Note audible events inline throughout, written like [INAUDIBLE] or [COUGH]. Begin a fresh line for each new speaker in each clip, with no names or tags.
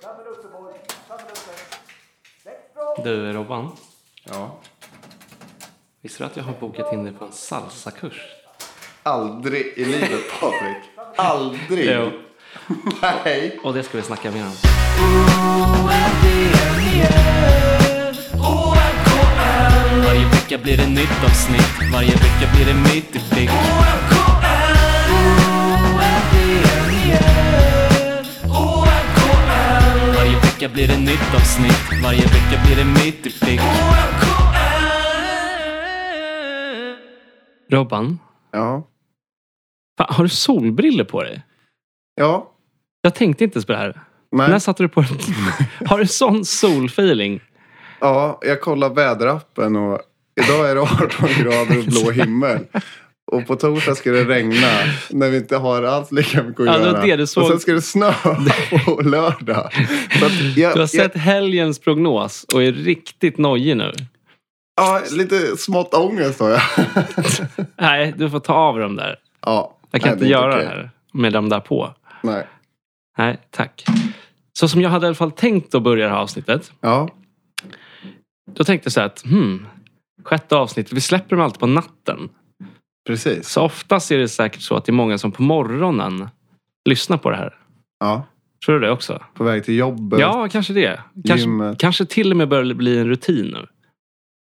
Fram med Luxemburg. Fram med Luxemburg. Släpp från.
Du Robban,
Ja.
visste du att jag har bokat in dig på en salsakurs?
Aldrig i livet, Patrik. Aldrig.
Jo.
Nej.
Och det ska vi snacka mer om.
Varje vecka blir det nytt avsnitt, varje vecka blir det mitt i blick Varje vecka blir det nytt avsnitt, varje vecka blir det mitt i blick
Robban,
Ja.
fan, har du solbriller på dig?
Ja.
Jag tänkte inte ens på det här.
Nej.
När satte du på den? [LAUGHS] Har du sån solfeeling?
Ja, jag kollar väderappen och idag är det [LAUGHS] 18 grader och blå himmel. Och på torsdag ska det regna när vi inte har alls lika mycket att
Ja, det var
göra.
det du såg.
Och sen ska det snö på lördag. Så att jag,
Du har
jag,
sett helgens prognos och är riktigt nojig nu.
ja, lite smått ångest har jag.
Nej, du får ta av dem där.
Ja,
Jag kan
nej,
inte
är
göra
okej.
det här med dem där på.
Nej.
Nej, tack. Så som jag hade i alla fall tänkt att börja det här avsnittet.
Ja,
Då tänkte jag så här att, hmm, sjätte avsnittet, vi släpper dem alltid på natten.
precis.
Så oftast är det säkert så att det är många som på morgonen lyssnar på det här.
Ja,
Tror du det också?
på väg till jobbet.
Ja, kanske det. Kanske,
Gymmet.
kanske till och med börjar bli en rutin nu.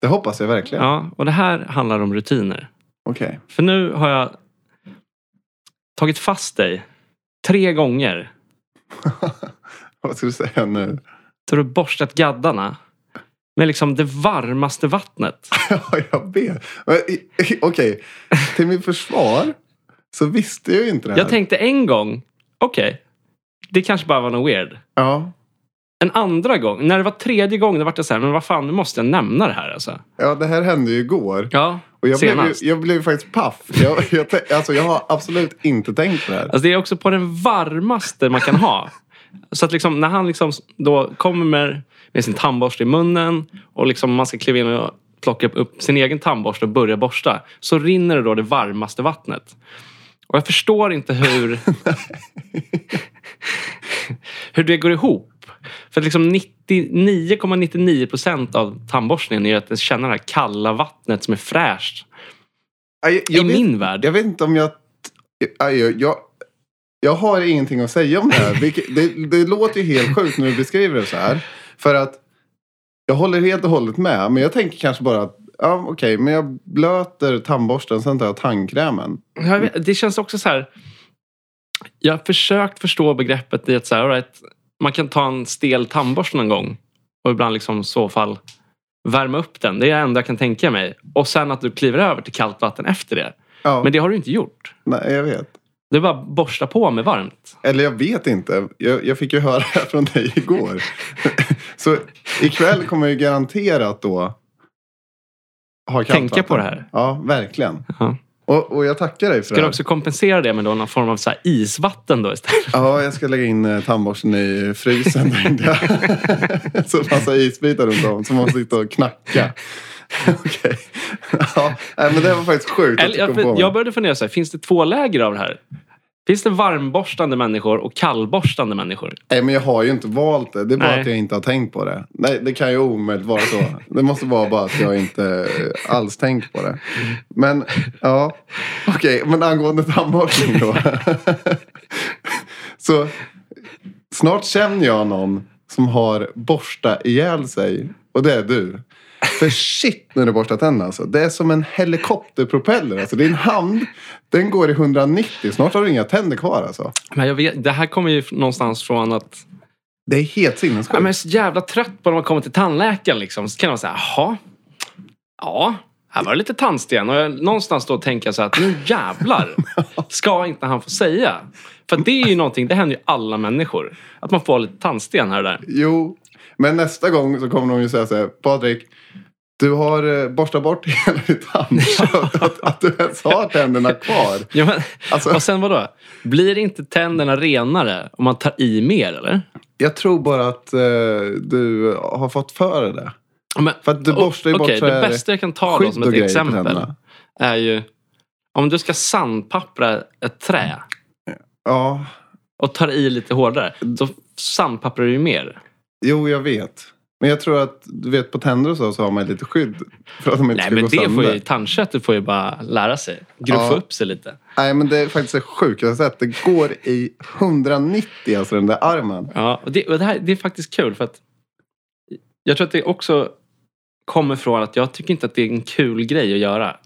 Det hoppas jag verkligen.
Ja, och det här handlar om rutiner.
Okej.
För nu har jag tagit fast dig tre gånger.
Vad ska du säga nu?
Då har du borstat gaddarna med liksom det varmaste vattnet.
[LAUGHS] Ja, jag vet. Men i- i- Okej, till min försvar så visste jag ju inte det här.
Jag tänkte en gång, okej, det kanske bara var något weird.
Ja,
En andra gång, när det var tredje gången, då var det så här, men vad fan, nu måste jag nämna det här alltså.
ja, det här hände ju igår.
Ja,
Och jag blev, ju,
senast.
jag blev ju faktiskt paff. Jag, [LAUGHS] jag, tän- alltså, jag har absolut inte tänkt på det här.
Alltså det är också på den varmaste man kan ha. Så att liksom, när han liksom då kommer med, med sin tandborste i munnen och liksom man ska kliva in och plocka upp sin egen tandborste och börja borsta. Så rinner det då det varmaste vattnet. Och jag förstår inte
[LAUGHS]
hur, hur det går ihop. För att liksom 99,99 procent av tandborstningen är ju att känna det här kalla vattnet som är fräscht.
Jag, jag,
I
vet,
min värld.
jag vet inte om jag... Jag, jag, jag, jag har ingenting att säga om det här. Vilket, det, det låter ju helt sjukt när du beskriver det så här. För att jag håller helt och hållet med. Men jag tänker kanske bara att ja, okej, men jag blöter tandborsten, sen tar jag tandkrämen.
Jag vet, det känns också så här. Jag har försökt förstå begreppet i att så här, all right, man kan ta en stel tandborste någon gång och ibland liksom i så fall värma upp den. Det är det enda jag kan tänka mig. Och sen att du kliver över till kallt vatten efter det.
Ja,
Men det har du inte gjort.
nej, jag vet.
Du bara borsta på med varmt.
Eller jag vet inte. Jag, jag fick ju höra det här från dig
[LAUGHS]
igår. Så ikväll kommer jag ju garanterat då ha kallt
Tänka
vatten.
på det här.
Ja, verkligen.
Ja.
Och, och jag tackar dig för
Ska
det
du
här.
också kompensera det med då någon form av så här isvatten då
[LAUGHS]
istället?
Ja, jag ska lägga in eh, tandborsten i frysen tänkte
[LAUGHS]
jag. Så massa isbitar runt om som man får sitta och knacka. [LAUGHS] Okej. Ja, nej, men det var faktiskt sjukt att
Eller,
du
jag,
kom på
för-
mig.
jag började fundera så här, finns det två läger av det här? Finns det varmborstande människor och kallborstande människor?
Nej, men jag har ju inte valt det. Det är bara
Nej.
att jag inte har tänkt på det. Nej, det kan ju omöjligt vara så. Det måste vara bara att jag inte eh, alls tänkt på det. Men ja, okej. Men angående tandborstning då. [LAUGHS] så snart känner jag någon som har borsta ihjäl sig. Och det är du. För shit när du borstar tänderna alltså. Det är som en helikopterpropeller. Alltså din hand, den går i 190. Snart har du inga tänder kvar alltså.
Men jag vet, det här kommer ju någonstans från att
Det är helt
Ja,
sinnessjukt.
men jag är så jävla trött på när man kommer till tandläkaren. Liksom. Så kan man säga, jaha. Ja, här var det lite tandsten. Och jag, någonstans då tänker jag så här, att nu
[LAUGHS]
jävlar ska inte han få säga. För det är ju någonting, det händer ju alla människor. Att man får lite tandsten här och där.
Jo, men nästa gång så kommer de ju säga så här, Patrik, du har eh, borstat bort [LAUGHS] hela ditt [LAUGHS] tandkött. att, att du ens har tänderna kvar.
Ja, men,
Alltså-
Och sen vadå? Blir inte tänderna renare om man tar i mer eller?
Jag tror bara att eh, du har fått för dig det.
Ja, Men,
För att du borstar ju bort
okej,
så här
det bästa jag kan ta då
skydd
som
och
ett
grejer på
exempel
tänderna.
är ju om du ska sandpappra ett trä
Ja,
och tar i lite hårdare. Så Sandpapper är ju mer.
Jo, jag vet. Men jag tror att du vet på tänder och så, så har man lite skydd. För att de inte
Nej,
ska
men
gå
det får
sönder.
ju, tandköttet får ju bara lära sig. Gruffa
Ja.
upp sig lite.
Nej, men det är faktiskt det sjukaste sätt. Det går i 190, alltså den där armen.
Ja, och det, och det, här, det är faktiskt kul för att jag tror att det också kommer från att jag tycker inte att det är en kul grej att göra.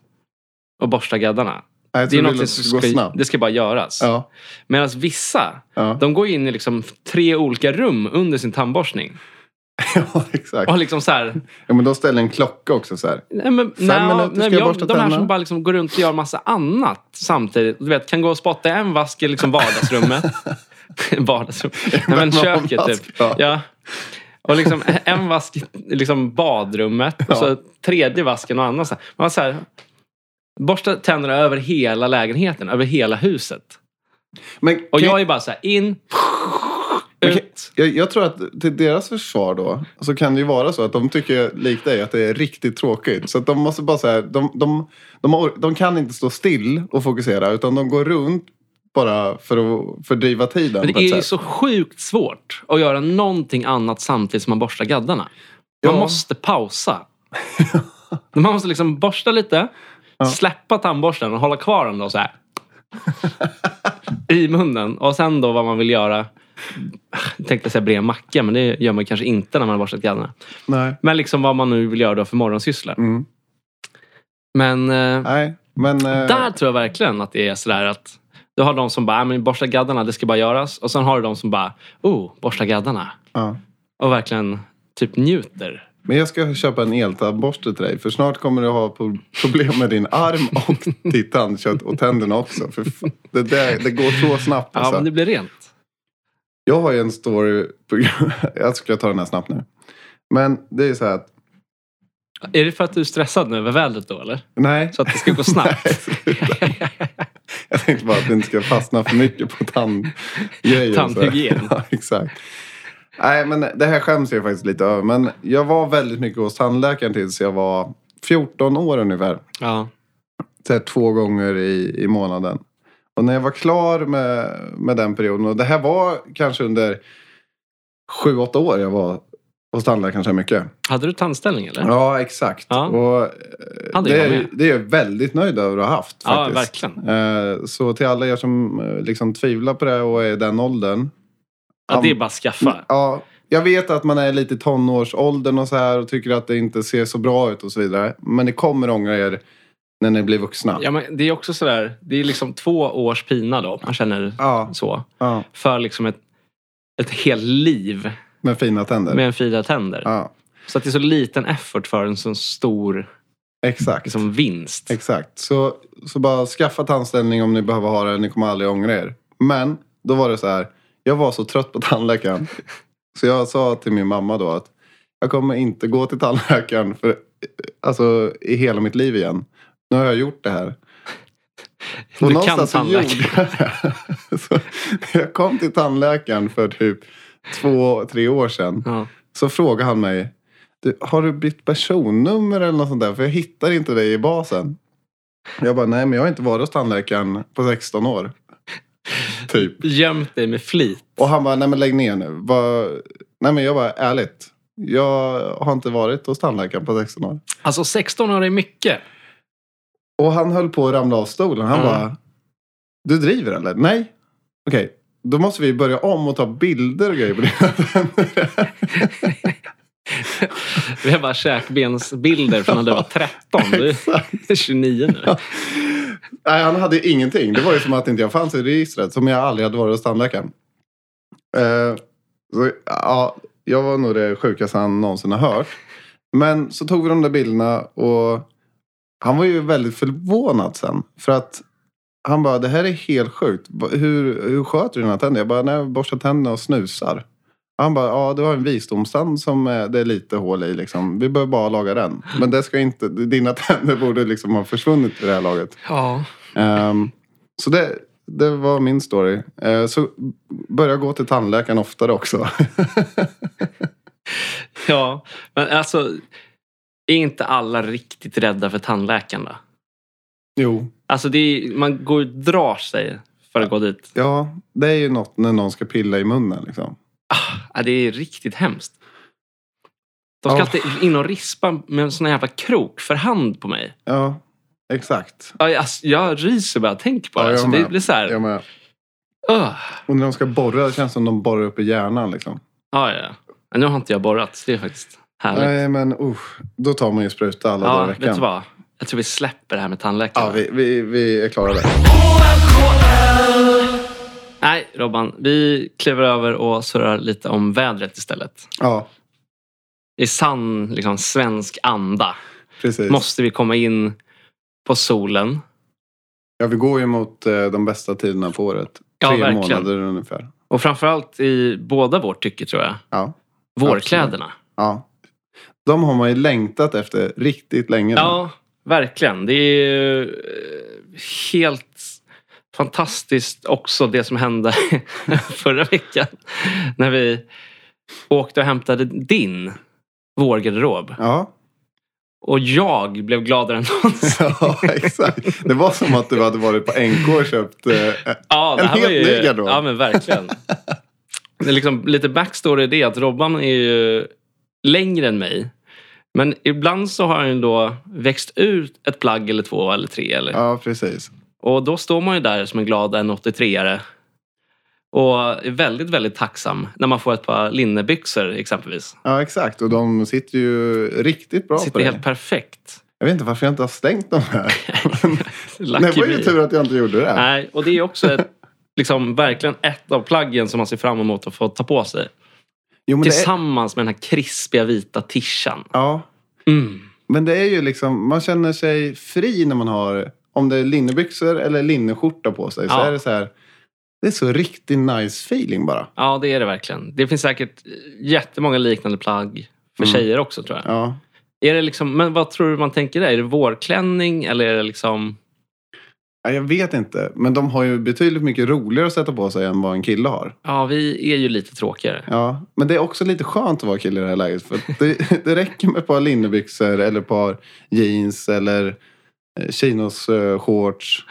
Att borsta gaddarna.
Nej, jag
Det är
tror
något
att
som
går
ska,
snabbt.
det ska bara göras.
Ja, [LAUGHS]
Medan vissa,
ja.
de går ju in i liksom tre olika rum under sin tandborstning.
ja,
Och
exakt.
har liksom så här,
Ja, men de ställer en klocka också så här.
nej men,
Fem
nej,
minuter
nej,
ska
men
jag
jag,
borsta
de här
tänderna.
som bara liksom går runt och gör massa annat samtidigt. Du vet, kan gå och spotta en vask i liksom vardagsrummet. [LAUGHS]
[LAUGHS]
Vardagsrum. Nej, men
Men man har
köket
vask,
typ.
ja.
Ja. Och liksom en vask i liksom badrummet och så
Ja.
tredje vasken och annat. så här. Man var så här, borsta tänderna över hela lägenheten, över hela huset.
Men
Och
kan-
jag är bara så här, in, ut.
Jag, jag tror att till deras försvar då, så kan det ju vara så att de tycker likt dig att det är riktigt tråkigt. Så att de måste bara så här, de, de, de, or- de kan inte stå still och fokusera utan de går runt bara för att fördriva tiden.
Men
på
det
ett
är ju
sätt.
så sjukt svårt att göra någonting annat samtidigt som man borstar gaddarna. Man
Ja.
måste
[LAUGHS]
pausa. man måste liksom borsta lite, släppa tandborsten och hålla kvar den då så här. I munnen. Och sen då vad man vill göra. Jag tänkte säga bre en macka, men det gör man kanske inte när man har borstat gaddarna.
Nej.
Men liksom vad man nu vill göra då för morgonsyssla.
Mm.
Men eh,
Nej, men... eh,
där tror jag verkligen att det är sådär att du har de som bara, "Äh, men borsta gaddarna, det ska bara göras. Och sen har du de som bara, oh, borsta gaddarna.
Ja.
och verkligen typ njuter.
Men jag ska köpa en eltandborste till dig för snart kommer du ha pro- problem med din arm och ditt tandkött och tänderna också. För f- det, där, det går så snabbt
Ja,
alltså.
men det blir rent.
Jag har ju en story. På, [LAUGHS] jag skulle ta den här snabbt nu. Men det är så här att...
Är det för att du är stressad nu över vädret då eller?
Nej.
Så att det ska gå
[LAUGHS]
snabbt?
Jag tänkte bara att du inte ska fastna för mycket på tandgrejer. och så.
Tandhygien.
[LAUGHS] ja, exakt. Nej, men det här skäms jag faktiskt lite över. Men jag var väldigt mycket hos tandläkaren tills jag var 14 år ungefär.
[LAUGHS] ja.
Så här, två gånger i, i månaden. Och när jag var klar med, med den perioden. Och det här var kanske under 7-8 år jag var hos tandläkaren så här mycket.
Hade du tandställning eller?
Ja, exakt.
Ja.
Och eh,
Hade
det,
jag
är,
med.
det är jag väldigt nöjd över att ha haft.
Ja,
Faktiskt. Eh, Så till alla er som eh, liksom tvivlar på det och är i den åldern. Mm,
Ja, det är bara att skaffa.
Ja, jag vet att man är lite i tonårsåldern och så här och tycker att det inte ser så bra ut och så vidare. Men ni kommer ångra er när ni blir vuxna.
Ja, men det är också sådär, det är liksom två års pina då, om man känner
Ja.
så.
Ja,
För liksom ett, ett helt liv
med fina tänder.
med en fyra tänder.
Ja,
Så att det är så liten effort för en så stor
exakt.
liksom, vinst.
Exakt. Så, så bara skaffa tandställning om ni behöver ha det. Ni kommer aldrig ångra er. Men då var det så här. Jag var så trött
[LAUGHS]
på tandläkaren. Så jag sa till min mamma då att jag kommer inte gå till tandläkaren för, alltså, i hela mitt liv igen. Nu har jag gjort det här.
[LAUGHS] Du kan
någonstans så
tandläkaren.
gjorde jag det. [LAUGHS] Så jag kom till tandläkaren för typ två, tre år sedan.
Ja.
Så frågade han mig, du, har du bytt personnummer eller något sånt där? För jag hittar inte dig i basen. Jag bara, nej men jag har inte varit hos tandläkaren på 16 år. Typ.
Gömt dig med flit.
Och han bara, nej men lägg ner nu. Bara, nej men jag bara, ärligt. Jag har inte varit hos tandläkaren på 16 år.
Alltså 16 år är mycket.
Och han höll på att ramla av stolen. Han
Mm.
bara, du driver eller? Nej. Okej, då måste vi börja om och ta bilder och grejer på [LAUGHS] dina tänder.
Vi har bara käkbensbilder från när du var 13. Du är 29 nu.
Nej, han hade ingenting. Det var ju som att inte jag fanns i registret. Som jag aldrig hade varit hos tandläkaren. Eh, så, ja, jag var nog det sjukaste han någonsin har hört. Men så tog vi de där bilderna och han var ju väldigt förvånad sen. För att han bara, det här är helt sjukt. Va- Hur, hur sköter du dina tänder? Jag bara, nej, jag borstar tänderna och snusar. Han bara, ja du har en visdomstand som eh, det är lite hål i liksom. Vi behöver bara laga den. Men det ska inte, dina [LAUGHS] tänder borde liksom ha försvunnit vid det här laget.
Ja.
Ehm, så det, det var min story. Eh, så börja gå till tandläkaren oftare också. [LAUGHS]
ja. Men alltså, är inte alla riktigt rädda för tandläkaren då?
jo.
Alltså det är, man går ju och drar sig för att gå dit.
Ja, det är ju något när någon ska pilla i munnen liksom.
Ja, Ah, det är riktigt hemskt. De ska
Ja.
alltid in och rispa med en sån här jävla krok för hand på mig.
Ja, exakt.
Ja, Jag, alltså, jag ryser bara jag tänker på
Ja,
det.
jag
Alltså,
med.
det blir så här...
Jag med.
"Ugh."
Och när de ska borra, det känns som de borrar upp i hjärnan liksom.
Ja, ja. Men nu har inte jag borrat. så Det är faktiskt härligt.
Nej, men usch. Då tar man ju spruta alla dagar i
ja,
veckan.
vet du vad? Jag tror vi släpper det här med tandläkaren.
Ja, vi, vi, vi är klara där.
Nej, Robban. Vi kliver över och surrar lite om vädret istället.
Ja,
I sann liksom, svensk anda
precis.
måste vi komma in på solen.
Ja, vi går ju mot eh, de bästa tiderna på året.
Ja,
Tre
verkligen.
månader ungefär.
Och framförallt i båda vårt tycke, tror jag.
Ja,
Vårkläderna.
ja. De har man ju längtat efter riktigt länge. nu.
Ja, verkligen. Det är ju eh, helt fantastiskt också det som hände [LAUGHS] förra veckan. När vi åkte och hämtade din vårgarderob.
Ja. [LAUGHS]
Och jag blev gladare än någonsin.
ja, exakt. Det var som att du hade varit på NK och köpt... Eh,
Ja,
En helt ny garderob.
Ja, men
[LAUGHS]
verkligen. Det är liksom, lite backstory i det är att Robban är ju längre än mig. Men ibland så har han ju då växt ut ett plagg eller två eller tre. Eller,
ja, precis.
Och då står man ju där som en glad 1,83-are. Och är väldigt, väldigt tacksam när man får ett par linnebyxor exempelvis.
Ja, exakt. Och de sitter ju riktigt bra på
Sitter
dig.
helt perfekt.
Jag vet inte varför jag inte har stängt de
[LAUGHS]
här.
Lucky
det var ju
me.
tur att jag inte gjorde det.
Nej, och det är också ett, liksom, verkligen ett av plaggen som man ser fram emot att få ta på sig.
jo, men det är,
Tillsammans med den här krispiga vita tishan.
ja,
Mm.
men det är ju liksom... Man känner sig fri när man har... Om det är linnebyxor eller linneskjorta på sig så
Ja.
är det så här... Det är så riktigt nice feeling bara.
Ja, det är det verkligen. Det finns säkert jättemånga liknande plagg för
Mm.
tjejer också tror jag.
Ja.
Är det liksom, men vad tror du man tänker där? Är det vårklänning eller är det liksom...
Ja, Jag vet inte. Men de har ju betydligt mycket roligare att sätta på sig än vad en kille har.
Ja, vi är ju lite tråkigare.
Ja, men det är också lite skönt att vara kille i det här läget. För att det, [LAUGHS] det räcker med ett par linnebyxor eller ett par jeans eller eh, chinos eh, shorts,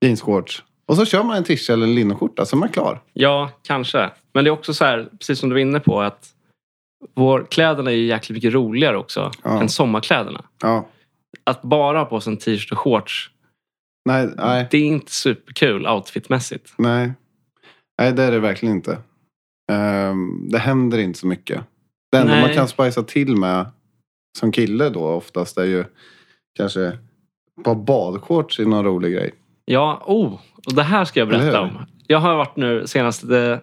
jeansshorts. Och så kör man en t-shirt eller en linneskjorta så är man klar.
Ja, kanske. Men det är också så här, precis som du var inne på, att vårkläderna är ju jäkligt mycket roligare också
Ja.
än sommarkläderna.
Ja.
Att bara ha på sig en t-shirt och shorts,
Nej, nej,
det är inte superkul outfitmässigt.
nej. Nej, det är det verkligen inte. Ehm, det händer inte så mycket. Det enda
Nej.
man kan spicea till med som kille då oftast är ju kanske ett par badshorts i någon rolig grej.
Ja, oh, och det här ska jag
Eller
berätta
hur?
om. Jag har varit nu senaste eh,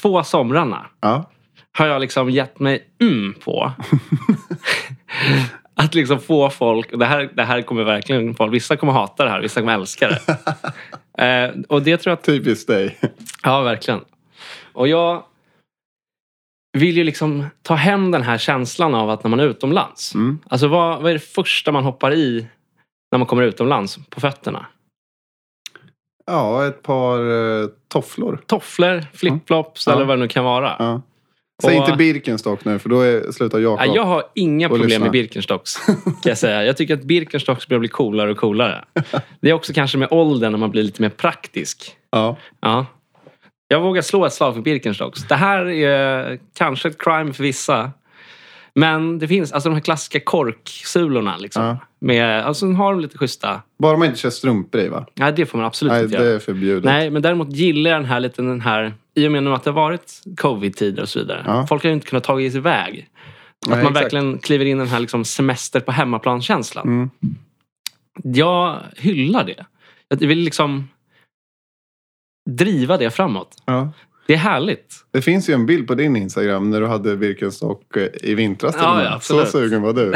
två somrarna
Ja,
har jag liksom gett mig mm
[LAUGHS]
på. att liksom få folk, och det här, det här kommer verkligen folk, vissa kommer hata det här, vissa kommer älska
[LAUGHS]
det. eh, och det tror jag att
typiskt dig. [LAUGHS]
Ja, verkligen. Och jag vill ju liksom ta hem den här känslan av att när man är utomlands.
Mm.
Alltså vad, vad är det första man hoppar i när man kommer utomlands på fötterna?
Ja, ett par eh, tofflor.
Tofflor, flipflops eller
Ja.
vad det nu kan vara.
Ja. Säg
Och-
inte Birkenstock nu, för då är, slutar
Ja,
Jakob.
jag har inga
Och
problem
lyssna.
med Birkenstocks. Kan jag, säga. jag tycker att Birkenstocks börjar bli coolare och coolare. Det är också kanske med åldern när man blir lite mer praktisk.
Ja.
Ja. Jag vågar slå ett slag för Birkenstocks. Det här är kanske ett crime för vissa. Men det finns alltså de här klassiska korksulorna. Liksom,
Ja.
med, alltså, de har de lite schyssta.
Bara man inte kör strumpor i, va?
Nej, det får man absolut
Nej,
inte
det
göra.
är förbjudet.
Nej, men däremot gillar jag den här lite den här... I och med nu att det har varit covid-tider och så vidare.
Ja.
Folk har ju inte kunnat ta sig iväg. Att
Nej,
man
exakt.
verkligen kliver in i den här liksom semester på hemmaplan-känslan.
Mm.
Jag hyllar det. Jag vill liksom driva det framåt.
Ja.
Det är härligt. [LAUGHS]
Det finns ju en bild på din Instagram när du hade Birkenstock eh, i vintras. till
Ja,
och med.
ja,
Så
absolut.
sugen var du.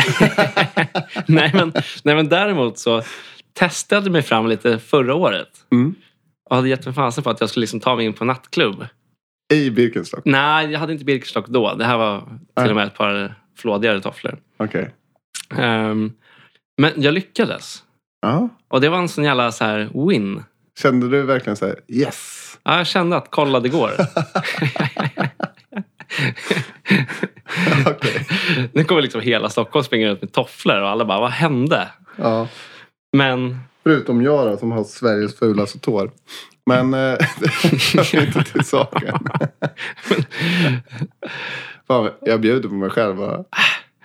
nej, men, nej, men däremot så testade jag mig fram lite förra året.
Mm.
Och hade gett mig fasen på att jag skulle liksom ta mig in på en nattklubb.
I Birkenstock.
Nej, jag hade inte Birkenstock då. Det här var till och med ett par flådigare tofflor.
Okej.
Ehm, men jag lyckades.
Ja.
Och det var en sån jävla så här win.
Kände du verkligen så här, yes! [LAUGHS]
Ja, jag kände att kolla, det går.
Okej.
nu kommer liksom hela Stockholm springa ut med tofflor och alla bara, vad hände?
Ja.
Men
Förutom jag då, som har Sveriges fulaste tår. Men eh, [LAUGHS] det hör inte till saken. [LAUGHS] Fan, jag bjuder på mig själv bara.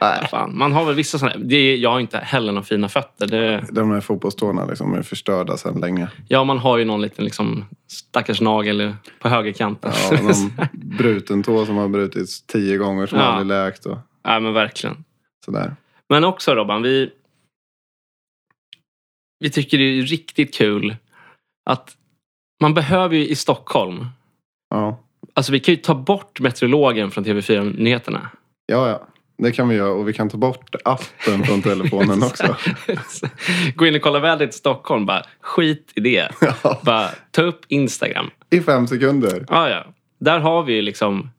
Nej,
Fan, man har väl vissa sådana... Det är, jag har inte heller några fina fötter. Det,
de här fotbollstårna liksom är förstörda sedan länge.
ja, man har ju någon liten liksom, stackars nagel på högerkanten. [LAUGHS]
Ja, någon bruten tå som har brutits tio gånger som
Ja.
aldrig läkt och
Nej, men verkligen.
sådär.
Men också Robban, vi, vi tycker det är riktigt kul att man behöver ju i Stockholm,
Ja,
alltså vi kan ju ta bort meteorologen från
[LAUGHS]
TV4-nyheterna.
ja, ja. Det kan vi göra och vi kan ta bort appen från telefonen också.
Gå in och kolla vädret i Stockholm, bara skit i det.
Ja,
Bara ta upp Instagram.
I fem sekunder.
Ja, ja. Där har vi ju liksom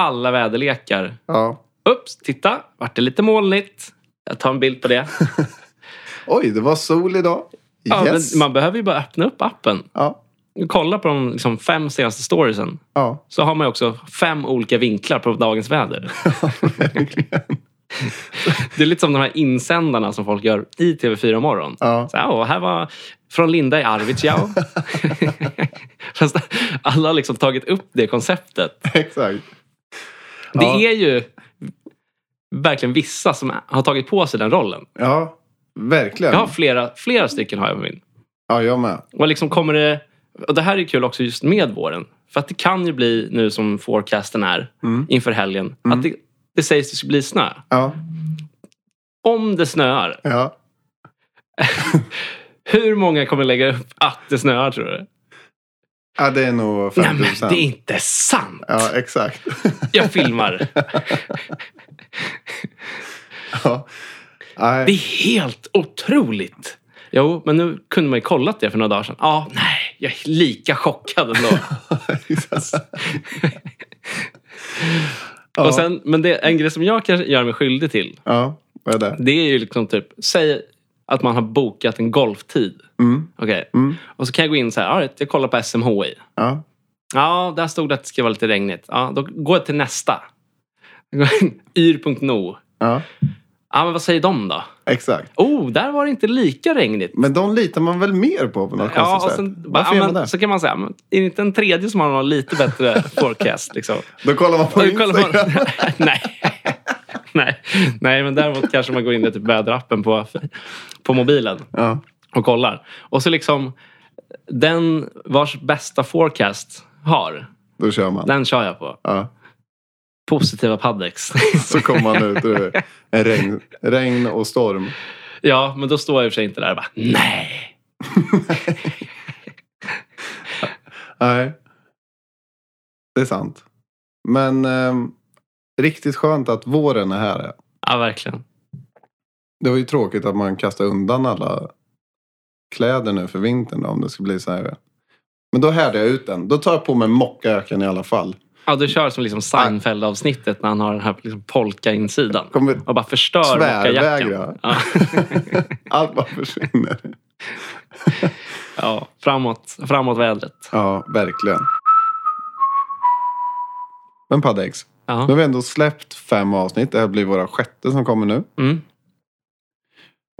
alla väderlekar.
Ja.
Ups, titta, vart det lite molnigt. Jag tar en bild på det.
Oj, det var sol idag.
Ja,
Yes.
men man behöver ju bara öppna upp appen.
Ja,
kolla på de liksom, fem senaste storiesen
ja. [LAUGHS]
så har man ju också fem olika vinklar på dagens väder. det är lite som de här insändarna som folk gör i TV4 morgon.
Ja.
Så, här, "Åh, här var från Linda i
[LAUGHS]
Arvidsjaur. Fast alla har liksom tagit upp det konceptet.
Exakt.
Det
Ja.
är ju verkligen vissa som har tagit på sig den rollen.
Ja, verkligen.
Jag har flera, flera stycken har jag på min.
Ja, jag med.
Och liksom kommer det... Och det här är kul också just med våren. För att det kan ju bli nu som forecasten är
Mm.
inför helgen. Att det, det sägs att det ska bli snö.
Ja,
Om det snöar,
ja.
hur många kommer lägga upp att det snöar tror du?
ja det är nog
Nej
50
men det är inte sant!
Ja, exakt. [LAUGHS]
Jag filmar.
ja.
Det
Nej.
är helt otroligt. Jo, men nu kunde man ju kollat det för några dagar sedan. Ja, nej, jag är lika chockad [LAUGHS] ändå.
Ja.
Och sen, men det, en grej som jag kanske gör mig skyldig till.
ja, vad är det?
Det är ju liksom typ, säg att man har bokat en golftid.
Mm.
Okej.
Mm.
Och så kan jag gå in så här, all right, jag kollar på SMHI.
Ja.
Ja, där stod det att det ska vara lite regnigt. Ja, då går jag till nästa. Jag går in, Yr.no.
ja,
Ja, men vad säger de då?
exakt.
Oh, där var det inte lika regnigt.
Men de litar man väl mer på på något
Ja, och
konstigt sätt?
sen, bara,
Varför
ja,
gör man
men,
det?
så kan man säga, men, är det inte en tredje som har någon lite
[LAUGHS]
bättre forecast? Liksom?
Då kollar man på
Och kollar
Instagram.
man- [LAUGHS] nej. nej. Nej, men däremot kanske man går in i typ väderappen på, på mobilen.
Ja,
och kollar. Och så liksom, den vars bästa forecast har,
då kör man.
den kör jag på.
Ja.
Positiva paddex.
Så kommer man ut ur en regn, regn och storm.
[LAUGHS] ja, men då står jag i och för sig inte där och bara nej.
Nej. Det är sant. Men ehm, riktigt skönt att våren är här.
Ja, verkligen.
Det var ju tråkigt att man kastar undan alla kläder nu för vintern då, om det ska bli så här. Men då härdar jag ut den. Då tar jag på mig mockaöken i alla fall.
Ja, du kör som liksom Seinfeld-avsnittet när han har den här liksom polka-insidan.
Kommer
Och bara förstör
tvärvägra.
mockajackan. Ja,
[LAUGHS]
[LAUGHS]
Allt bara försvinner.
ja, framåt, framåt vädret.
Ja, verkligen. Men Padex, nu
Ja.
har vi ändå släppt fem avsnitt. Det här blir våra sjätte som kommer nu.
Mm.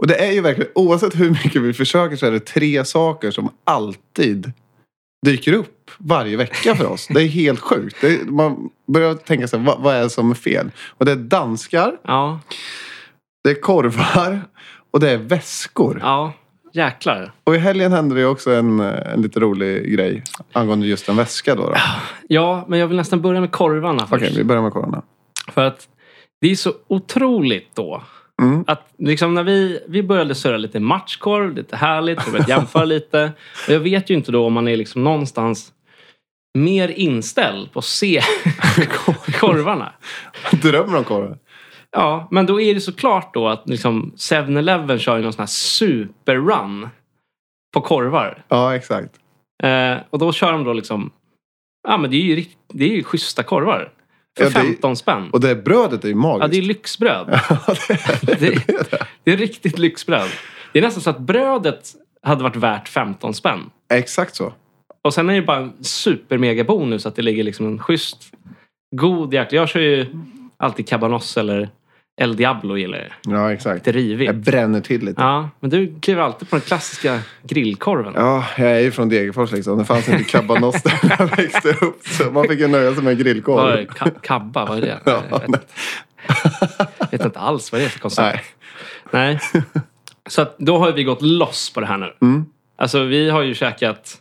Och det är ju verkligen, oavsett hur mycket vi försöker så är det tre saker som alltid dyker upp varje vecka för oss. Det är helt sjukt. Det är, man börjar tänka sig, vad, vad är det som är fel? Och det är danskar,
Ja,
det är korvar och det är väskor.
ja, jäklar.
Och i helgen hände det ju också en, eh, en lite rolig grej angående just en väska då. då.
Ja, men jag vill nästan börja med korvarna först.
Okej, vi börjar med korvarna. [LAUGHS]
För att det är så otroligt då.
Mm.
Att liksom när vi, vi började surra lite matchkorv, lite härligt, vi började
[LAUGHS]
jämföra lite. Och jag vet ju inte då om man är liksom någonstans mer inställd på att
[LAUGHS]
se [LAUGHS] korvarna.
Drömmer om korvar?
Ja, men då är det såklart då att liksom 7-Eleven kör ju någon sån här superrun på korvar.
Ja, exakt.
Eh, och då kör de då liksom... Ja, men det är ju, rikt- det är ju schyssta korvar. För
Ja, det är-
15 spänn.
Och det brödet är ju
Ja, det är
magiskt.
lyxbröd.
[LAUGHS] Ja, det är det.
Det, det är riktigt lyxbröd. Det är nästan så att brödet hade varit värt 15 spänn.
Exakt så.
Och sen är det bara en supermega bonus att det ligger liksom en schysst, god jäkla... Jag kör ju alltid cabanos eller El Diablo gillar jag.
Ja, exakt.
Lite rivigt.
Jag bränner till lite.
Ja, men du kliver alltid på den klassiska grillkorven.
Ja, jag är ju från Degerfors liksom. Det fanns inte kabbanos där när jag växte upp. Så man fick ju nöja sig med
Vad är det?
grillkorv.
Ka- kabba, vad är det?
Ja,
jag vet, jag vet inte alls vad det är för koncept.
Nej.
Nej.
[LAUGHS]
Så att då har vi gått loss på det här nu.
Mm.
Alltså vi har ju käkat...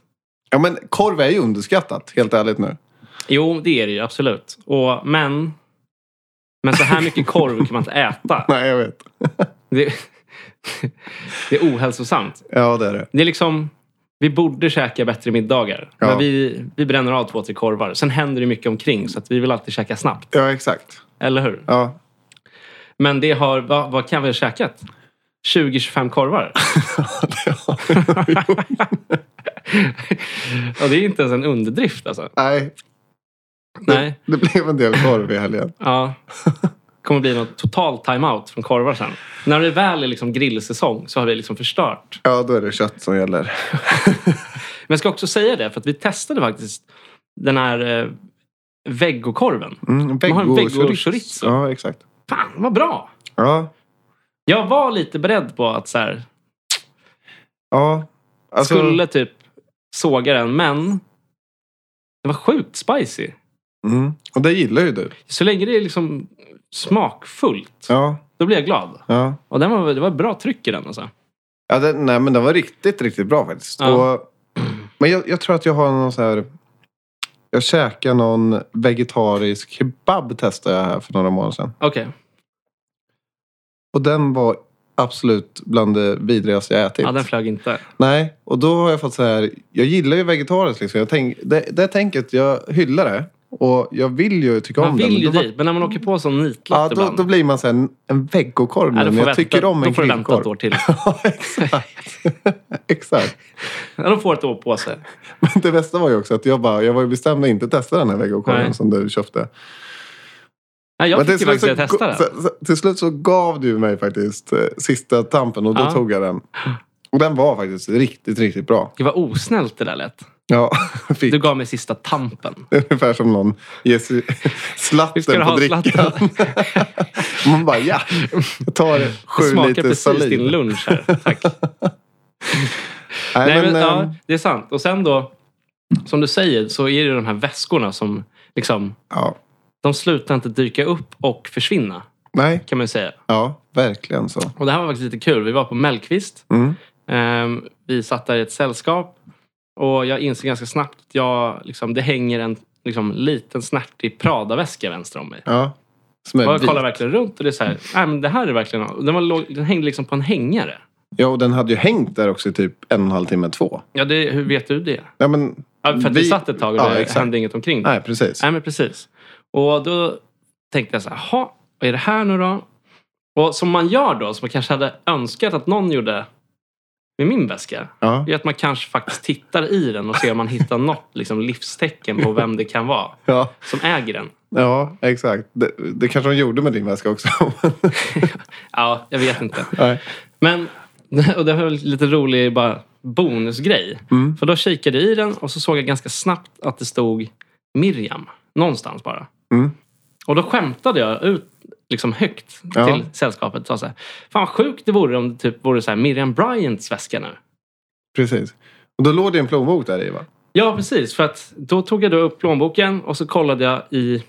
Ja, men korv är ju underskattat, helt ärligt nu.
Jo, det är det ju absolut. Och, men... Men så här mycket korv kan man inte äta.
[LAUGHS] Nej, jag vet.
Det, [LAUGHS] det är ohälsosamt.
Ja, det är det.
Det är liksom... Vi borde käka bättre middagar.
Ja.
Men vi, vi bränner av två, tre korvar. Sen händer det mycket omkring så att vi vill alltid käka snabbt.
Ja, exakt.
Eller hur?
Ja. [LAUGHS]
Men det har... Vad, vad kan vi ha käkat? 20-25 korvar. Och det är inte ens en underdrift alltså.
Nej,
Nej.
det blev en del korv i helgen.
Ja. kommer bli någon total timeout från korvar sen. När det väl är liksom grillsäsong så har vi liksom
[LAUGHS]
förstört.
Ja, då är det kött som gäller.
Men jag ska också säga det, för att vi testade faktiskt den här eh, vegokorven.
Mm,
Man har en
vego-
vego-
chorizo.
chorizo.
Ja, exakt.
Fan, vad bra!
Ja,
Jag var lite beredd på att så här,
ja. Alltså,
skulle typ såga den, men den var sjukt spicy.
Mm. Och det gillar ju du.
Så länge det är liksom smakfullt,
Ja,
då blir jag glad.
ja.
Och den var, det var bra tryck i den. Alltså.
Ja, den, nej, men den var riktigt, riktigt bra faktiskt.
Ja.
Och, [CLEARS THROAT] men jag, jag tror att jag har någon så här... Jag käkade någon vegetarisk kebab testade jag här för några månader sedan.
Okej.
Och den var absolut bland det vidrigaste jag ätit.
Ja, den flög inte.
Nej, och då har jag fått så här... Jag gillar ju vegetariskt liksom. Jag tänk, det, det tänket, jag hyllar det. Och jag vill ju tycka
Man
om det.
vill ju
men då,
dit, men när man åker på sån nitlott
Ja, då,
ibland.
då blir man så här en, en vegokorv
Nej, då
nu. Men
får
jag
vänta-
tycker om en
Då får du vänta ett år
grillkorv.
till.
[LAUGHS]
[LAUGHS]
Ja, exakt. [LAUGHS] exakt.
Ja, de får ett år på sig.
Men [LAUGHS] det bästa var ju också att jag, bara, jag var ju bestämd att inte testa den här
Nej.
vegokorven som du köpte.
Nej, jag
Men
tycker faktiskt att jag
så liksom
testar
ga-
den.
så- så- Till slut så gav du mig faktiskt eh, sista tampen och då
Ja.
tog jag den. Och den var faktiskt riktigt, riktigt bra.
Det var osnällt det där lätt.
Ja, [LAUGHS] fick.
Du gav mig sista tampen.
Ungefär som någon
[LAUGHS]
ger sig
Vi ska
slatten på
ha
drickan.
slatten.
[LAUGHS] Man bara ja, jag tar
Det
sju
smakar
liter
precis
saliv.
din lunch
[LAUGHS]
här. Tack.
Nej,
Nej, men,
men, eh,
ja, det är sant. Och sen då, som du säger, så är det ju de här väskorna som liksom,
ja.
de slutar inte dyka upp och försvinna.
Nej,
Kan man ju säga.
ja, verkligen så.
Och det här var faktiskt lite kul. Vi var på Mellqvist.
Mm.
Ehm, vi satt där i ett sällskap. Och jag insåg ganska snabbt att jag, liksom, det hänger en liksom, liten snärtig Prada-väska vänster om mig.
Ja.
Och jag kollar
Smörvit.
verkligen runt och det är så här, nej men det här är verkligen, den, var, låg- den hängde liksom på en hängare.
Ja, och den hade ju hängt där också i typ en och en halv timme, två.
Ja, det, hur vet du det?
Ja, men,
Ja, för att vi,
Vi-
satt ett tag och
ja,
det
exakt.
hände inget omkring.
nej, precis.
Nej, men precis. Och då tänkte jag så här, jaha, vad är det här nu då? Och som man gör då, som man kanske hade önskat att någon gjorde med min väska,
Ja.
är att man kanske faktiskt tittar i den och ser om man hittar något liksom, livstecken på vem det kan vara
Ja,
som äger den.
ja exakt. Det, det kanske de gjorde med din väska också. [LAUGHS]
Ja, jag vet inte.
Nej.
Men, [LAUGHS] och det var väl lite rolig bara bonusgrej.
Mm.
För då kikade jag i den och så såg jag ganska snabbt att det stod Miriam. Någonstans bara.
Mm.
Och då skämtade jag ut liksom högt
Ja.
till sällskapet. Sa så här, Fan vad sjukt det vore om det typ vore så här Miriam Bryants väska nu.
Precis. Och då låg det en plånbok där i va?
Ja, precis. För att då tog jag då upp plånboken och så kollade jag i...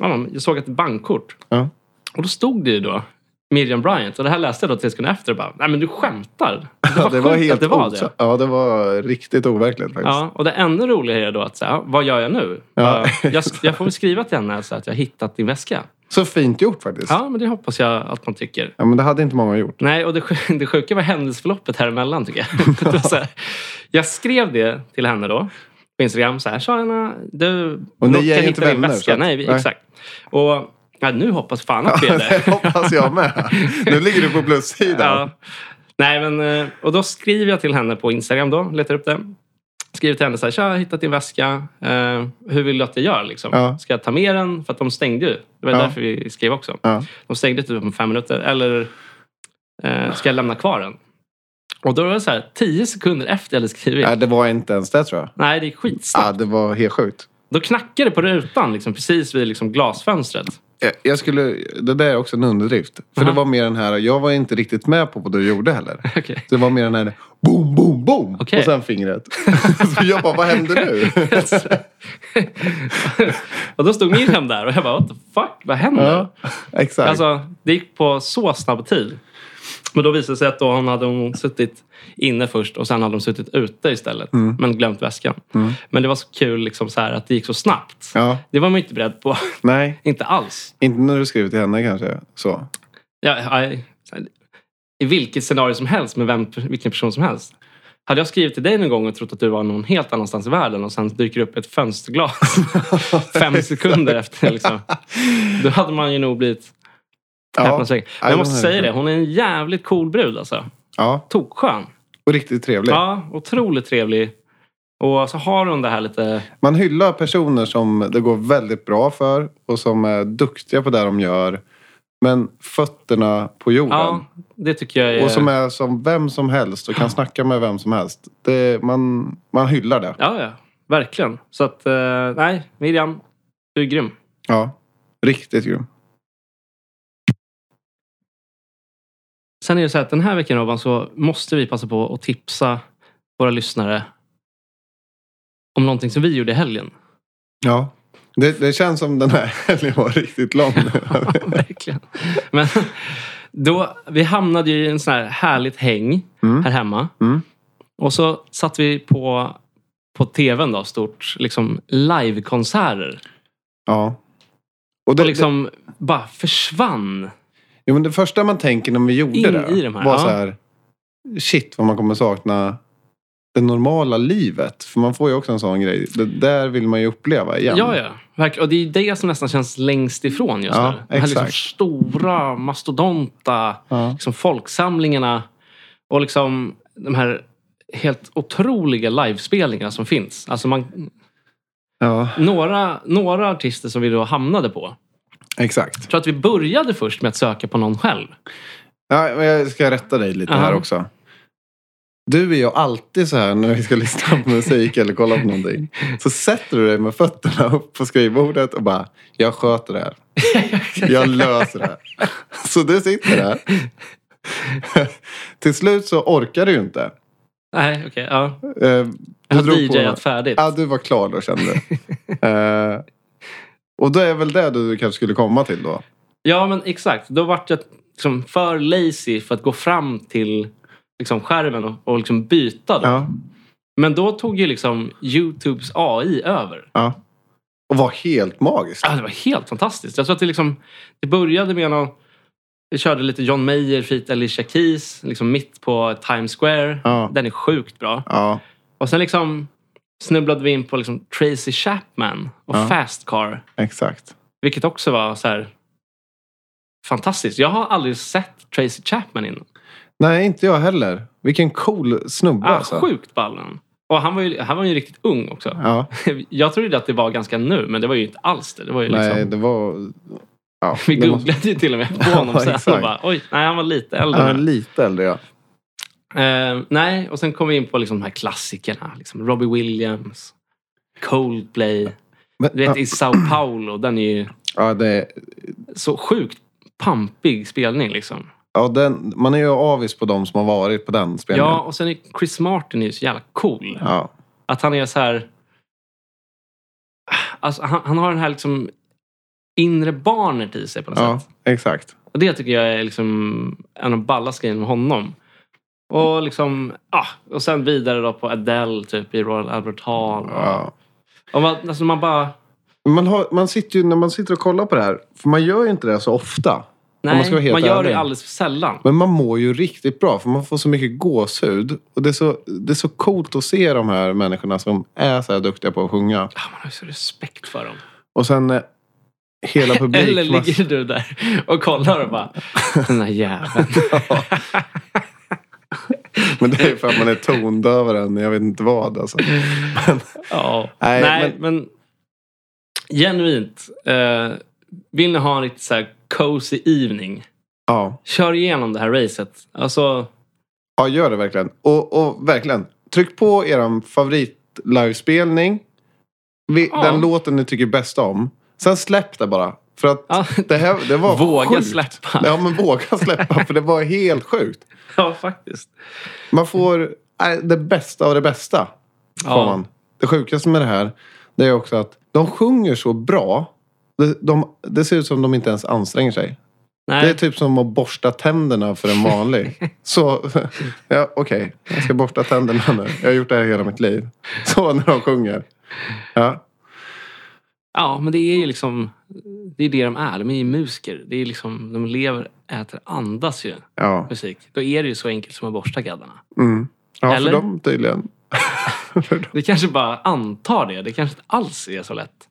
Ja, jag såg ett bankkort.
Ja.
Och då stod det ju då Miriam Bryant. Och det här läste jag då tre sekunder efter och bara, nej men du skämtar.
[LAUGHS] Ja, det var
sjukt
helt
att det var
otra-
det.
Ja, det var riktigt overkligt faktiskt.
Ja, och det ännu roligare är då att säga, vad gör jag nu?
Ja.
Bara, Jag, jag får väl skriva till henne så att jag har hittat din väska.
Så fint gjort faktiskt.
Ja, men det hoppas jag att man tycker.
Ja, men det hade inte många gjort.
Nej, och det, sj- [LAUGHS] det sjuka var händelseförloppet här emellan tycker jag. [LAUGHS] Det var så här, jag skrev det till henne då på Instagram. Så här, Sara, du...
Och ni
något
är
kan
ju
hitta
inte
din
vänner,
väska.
så att-
nej, vi-
nej.
exakt. Och ja, nu hoppas fan att vi
[LAUGHS]
är det.
hoppas
[LAUGHS]
jag med. Nu ligger du på plussidan.
Ja. Nej, men, eh, och då skriver jag till henne på Instagram då, letar upp det. Skriver till henne så här, tja, jag har hittat din väska. Eh, hur vill du att jag gör? Liksom?
Ja.
Ska jag ta med den? För att de stängde ju. Det var
Ja.
därför vi skrev också.
Ja.
De stängde typ om fem minuter. Eller eh, ska jag lämna kvar den? Och då var det så här, tio sekunder efter jag hade skrivit.
Nej, det var inte ens det tror jag.
Nej, det är skitsnabbt.
Ja, det var helt sjukt. [LAUGHS]
Då knackade det på rutan, liksom, precis vid liksom, glasfönstret.
eh, jag skulle, det där är också en underdrift. För det var mer den här, jag var inte riktigt med på vad du gjorde heller.
Okej.
Så det var mer den här, boom, boom, boom.
Okej.
Och sen fingret. [LAUGHS] så jag bara, vad händer nu?
[LAUGHS] och då stod min hem där och jag bara, what the fuck, vad händer?
ja, [LAUGHS] exakt.
Alltså, det gick på så snabb tid. Men då visade det sig att då hon hade hon suttit inne först och sen hade de suttit ute istället.
Mm.
Men glömt väskan. Men det var så kul liksom så här, att det gick så snabbt.
ja,
Det var man ju inte beredd på.
nej.
inte alls.
Inte när du skriver till henne kanske. Så.
Ja, I, I vilket scenario som helst med vem, vilken person som helst. Hade jag skrivit till dig någon gång och trott att du var någon helt annanstans i världen och sen dyker upp ett
[LAUGHS]
fönsterglas fem sekunder efter. Liksom. Då hade man ju nog blivit
Ja,
häpnadsväckande. Men
Ja,
jag måste
den här är
säga det,
skön.
hon är en jävligt cool brud alltså.
ja,
Tokskön.
och riktigt trevligt.
Ja, otroligt trevlig. Och så har hon det här lite...
Man hyllar personer som det går väldigt bra för och som är duktiga på det de gör. Men fötterna på jorden.
Ja, det tycker jag är...
Och som är som vem som helst och kan snacka med vem som helst. Det, man, man hyllar det.
Ja, ja. Verkligen. Så att, eh, nej, Miriam, du är grym.
Ja. Riktigt grym.
Sen är det så här att den här veckan Robban så måste vi passa på att tipsa våra lyssnare om någonting som vi gjorde i
[LAUGHS]
helgen.
Ja. Det, det känns som den här [LAUGHS] helgen var
[LAUGHS]
riktigt lång.
Verkligen. Men då, vi hamnade ju i en sån här härligt häng
Mm.
här hemma.
Mm.
Och så satt vi på, på tvn då, stort, liksom livekonserter.
ja. Och det,
Och liksom bara försvann.
det, jo, men det första man tänker när vi gjorde
In
det
i de här,
var
ja.
så här. Shit vad man kommer sakna det normala livet. För man får ju också en sån grej. Det där vill man ju uppleva igen.
Ja, ja. Verkligen. Och det är det som nästan känns längst ifrån just
Ja,
nu. De här liksom
exakt.
stora, mastodonta
Ja.
liksom folksamlingarna och liksom de här helt otroliga livespelningarna som finns. Alltså man,
ja
några, några artister som vi då hamnade på.
exakt.
Jag tror att vi började först med att söka på någon själv.
Ja, men jag ska rätta dig lite
Ja.
här också. Du är ju alltid så här när vi ska lyssna på musik eller kolla på någonting. Så sätter du dig med fötterna upp på skrivbordet och bara, jag sköter det här. Jag löser det här. Så du sitter där. Till slut så orkar du ju inte.
Nej, okej. ja.
Eh,
Jag har
drog på-
DJat färdigt.
Ja, du var klar då kände du.
[LAUGHS]
Eh, Och då är väl det du kanske skulle komma till då.
Ja, men exakt. Då vart jag liksom för lazy för att gå fram till liksom skärmen och, och liksom byta. Då.
Ja.
Men då tog ju liksom Youtubes AI över.
ja. Och var helt magiskt.
Ja, det var helt fantastiskt. Jag tror att det, liksom, det började med någon... Vi körde lite John Mayer feat Alicia Keys liksom mitt på Times Square.
Ja.
Den är sjukt bra.
Ja.
Och sen liksom snubblade vi in på liksom Tracy Chapman och
Ja.
Fast Car.
Exakt.
Vilket också var så här fantastiskt. Jag har aldrig sett Tracy Chapman innan.
Nej, inte jag heller. Vilken cool snubbe
Ah,
alltså.
sjukt ballen. Och han var, ju, han var ju riktigt ung också.
Ja,
[LAUGHS] Jag trodde att det var ganska nu, men det var ju inte alls det. det var ju liksom,
nej, det var... Ja,
[LAUGHS] vi
det
googlade ju till och med på
[LAUGHS] Ja,
honom sen. Och
exakt.
bara, Oj, nej, han var lite äldre.
Ja,
nu."
lite äldre, ja.
Eh, nej, och sen kom vi in på liksom de här klassikerna. Liksom Robbie Williams, Coldplay.
Men,
Du vet,
ja,
i Sao Paulo, den är ju
ja, det,
så sjukt pampig spelning. Liksom.
ja den, man är ju avis på de som har varit på den spelningen.
Ja, och sen är Chris Martin är ju så jävla cool.
Ja,
Att han är så här... Alltså, han, han har den här liksom inre barnet i sig på något
ja,
sätt.
exakt.
Och det tycker jag är liksom en av de ballaste grejerna med honom. Och liksom, ah, och sen vidare då på Adele typ i Royal Albert Hall.
Ja.
Och man, alltså man bara...
Man, har, man sitter ju, när man sitter och kollar på det här, för man gör ju inte det så ofta.
Nej,
man ska vara helt
man gör
ärlig.
det alldeles för sällan.
Men man mår ju riktigt bra, för man får så mycket gåshud. Och det är så, det är så coolt att se de här människorna som är så här duktiga på att sjunga.
Ah, man har ju så respekt för dem.
Och sen eh, hela publiken...
Eller ligger du där och kollar och bara... Den där
[LAUGHS]
jäveln.
Men det är ju för att man är tondövare än jag vet inte vad. Alltså. Men,
Ja.
Nej,
Nej, men... genuint. Eh, vill ni ha en riktigt så här cozy evening?
ja.
Kör igenom det här racet. Alltså,
ja, gör det verkligen. Och, och verkligen, tryck på er favorit livespelning. Vi,
Ja.
Den låten ni tycker bäst om. Sen släpp det bara. För att
Ja.
det här det var
Våga
sjukt.
släppa.
Ja, men våga släppa. för det var helt sjukt.
Ja, faktiskt.
Man får nej, det bästa av det bästa. Får
Ja.
man. Det sjukaste med det här det är också att de sjunger så bra. De, de, det ser ut som de inte ens anstränger sig.
Nej,
Det är typ som att borsta tänderna för
[LAUGHS]
en vanlig. Så, [LAUGHS] ja, okej. Jag ska borsta tänderna nu. Jag har gjort det här hela mitt liv. [LAUGHS] Så när de sjunger. Ja,
ja, men det är ju liksom... Det är det de är. De är ju musiker. Det är liksom, de lever, äter, andas ju
ja.
musik. Då är det ju så enkelt som att borsta gaddarna.
Mm. Ja,
Eller?
för dem tydligen. för dem.
Det kanske bara antar det. Det kanske inte alls är så lätt.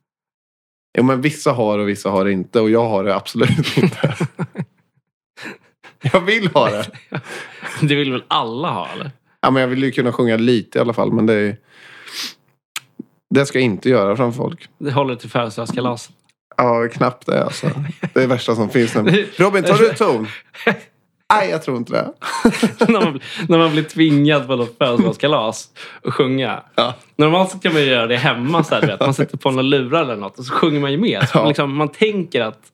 Jo, men vissa har och vissa har inte. Och jag har det
[LAUGHS]
absolut inte. jag vill ha det.
Det vill väl alla ha, eller?
Ja, men jag vill ju kunna sjunga lite i alla fall. Men det, är, det ska jag inte göra framför folk.
Det håller till födelsedagskalas. [LAUGHS]
Ja, knappt det alltså. Det är det värsta som finns. nämligen. Robin, tar du ton? Nej, jag tror inte det.
när, man, blir- när man blir tvingad på något födelsedagskalas och sjunga.
Ja.
Normalt så kan man ju göra det hemma. Så här, du vet. Man sätter på några lurar eller något och så sjunger man ju med. Så
Ja.
liksom, man tänker att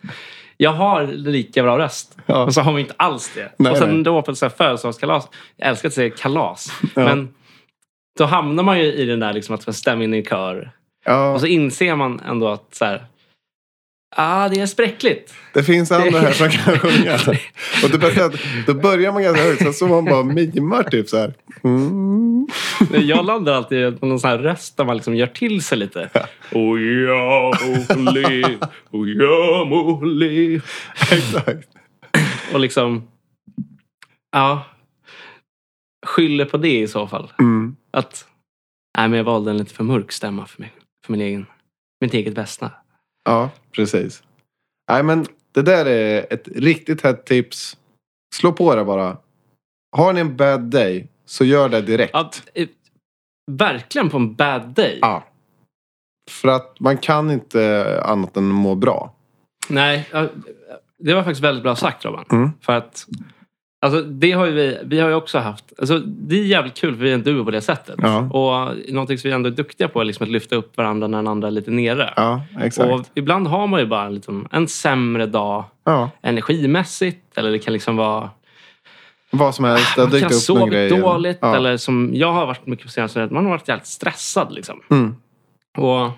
jag har lika bra röst.
Ja.
Och så har man ju inte alls det.
Nej,
och sen
nej.
då på ett så här födelsedagskalas. Jag älskar att säga kalas. Men då hamnar man ju i den där liksom, att man stämmer in i en kör.
Ja,
Och så inser man ändå att så här, ah, det är spräckligt.
det finns andra här som kan sjunga. Och det bästa är att då börjar man ganska högt, sen så man bara mimar typ så här. Mm.
Men Jag landar alltid på någon sån här röst där man liksom gör till sig lite. Och jag må lev, och jag må lev.
Exakt.
Och liksom... Ja. Skyller på det i så fall.
Mm.
Att... Nej, men jag valde en lite för mörk stämma för, mig, för min egen, mitt eget bästa.
Ja, precis. Nej, men det där är ett riktigt hett tips. Slå på det bara. Har ni en bad day, så gör det direkt.
Att, eh, verkligen på en bad day.
Ja. För att man kan inte annat än må bra.
Nej, ja, det var faktiskt väldigt bra sagt Robban.
Mm.
För att, alltså, det har ju vi, vi har ju också haft, alltså, det är jävligt kul för vi är en duo på det sättet.
Ja.
Och någonting som vi ändå är duktiga på är liksom att lyfta upp varandra när den andra är lite nere.
Ja, exakt.
Och ibland har man ju bara en, liten, en sämre dag
Ja,
energimässigt eller det kan liksom vara
vad som helst. Det har
man
dykt
kan ha
upp någon grej.
sovit dåligt
ja.
eller som jag har varit mycket på senaste man har varit jävligt stressad liksom.
Mm.
Och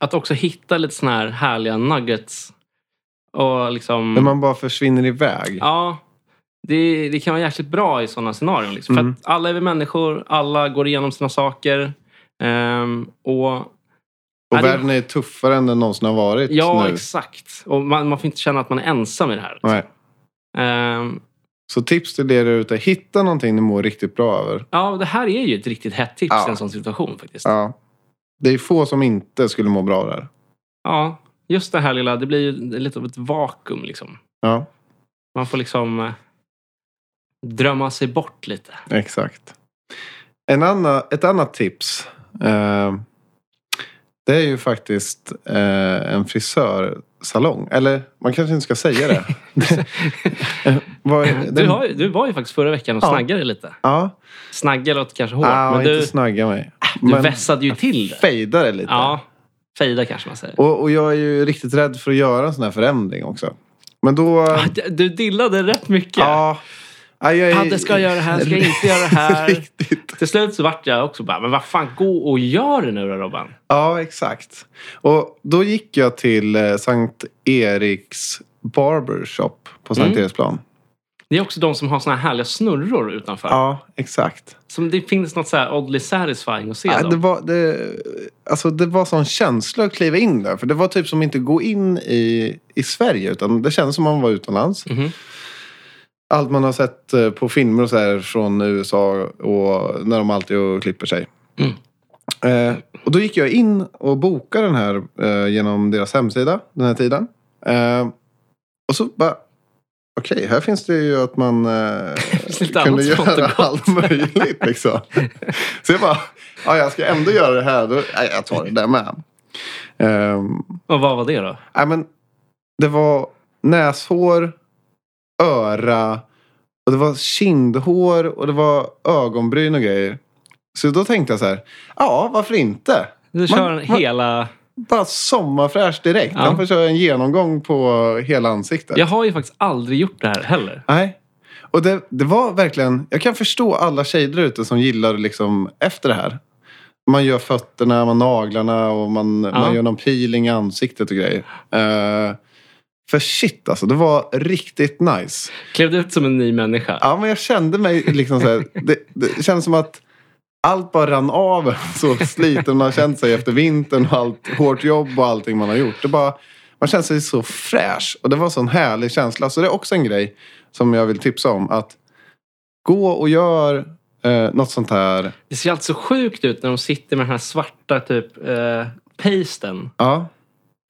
att också hitta lite såna här härliga nuggets och liksom...
När man bara försvinner iväg.
Ja, det, det kan vara jäkligt bra i sådana scenarion. Liksom.
Mm.
För att alla är vi människor, alla går igenom sina saker. Ehm, och
Och
Ja, det-
världen är tuffare än den någonsin har varit
Ja,
nu.
exakt. Och man, man får inte känna att man är ensam i det här.
Nej.
Ehm,
Så tips till er där ute. Hitta någonting ni mår riktigt bra över.
ja, det här är ju ett riktigt hett tips
Ja.
i en sån situation faktiskt. Ja.
Ja. Det är få som inte skulle må bra där.
just det här lilla, det blir ju lite av ett vakuum liksom.
Ja,
Man får liksom eh, drömma sig bort lite.
exakt. En annan, ett annat tips. Eh, det är ju faktiskt eh, en frisörsalong. Eller man kanske inte ska
[LAUGHS]
säga det. Eh, vad är-
Du,
den-
har, ju- du var ju faktiskt förra veckan och
Ja.
snaggade lite.
Ja,
Snagga låter kanske hårt,
ah,
men
inte
du,
snagga mig.
du vässade ju till det.
fejdar det lite.
Ja, fejda kanske man säger.
Och, och jag är ju riktigt rädd för att göra en sån här förändring också. Men då...
Du- Du dillade rätt mycket.
Ja. ja, jag är-
Padde ska göra det här, ska jag inte göra det här?
[LAUGHS] Riktigt.
Till slut så vart jag också bara, men vad fan, gå och gör det nu då Robban.
Ja, exakt. Och då gick jag till eh, Sankt Eriks Barbershop på Sankt Eriksplan.
Det är också de som har såna här härliga snurror utanför.
Ja, exakt.
Som det finns något så här oddly satisfying att se
Ja, det,
dem.
var, det, alltså, det var sån känsla att kliva in där. För det var typ som inte gå in i, i Sverige. Utan det kändes som man var utomlands.
Mhm.
Allt man har sett eh, på filmer och så här från USA. Och när de alltid och klipper sig.
Mm.
Eh, och då gick jag in och bokade den här eh, genom deras hemsida. Den här tiden. Eh, och så bara... Okej, här finns det ju att
[LAUGHS]
man eh,
finns lite
kunde
annat smått och
göra allt möjligt.
[LAUGHS]
Liksom. Så jag bara, ja, jag ska ändå göra det här. Då, nej, jag tar det där med. Ehm,
Och vad var det då?
nej, men det var näshår, öra, och det var kindhår och det var ögonbryn och grejer. Så då tänkte jag så här, ja, varför inte?
Du
Man-
kör en
man-
hela...
bara sommarfräsch direkt.
Ja.
Han får köra en genomgång på hela ansiktet.
Jag har ju faktiskt aldrig gjort det här heller.
Nej. Och det, det var verkligen... Jag kan förstå alla tjejer där ute som gillar liksom efter det här. Man gör fötterna, man naglarna och man, man gör någon peeling i ansiktet och grejer. Eh, för shit alltså, det var riktigt nice.
Klev du ut som en ny människa?
Ja, men jag kände mig liksom så här, det, det kändes som att allt bara rann av så sliten man har känt sig efter vintern och allt hårt jobb och allting man har gjort. Det bara, man känner sig så fräsch och det var en sån härlig känsla. Så det är också en grej som jag vill tipsa om. Att gå och gör eh, något sånt här.
Det ser alltid så sjukt ut när de sitter med den här svarta typ eh, pasten
Ja,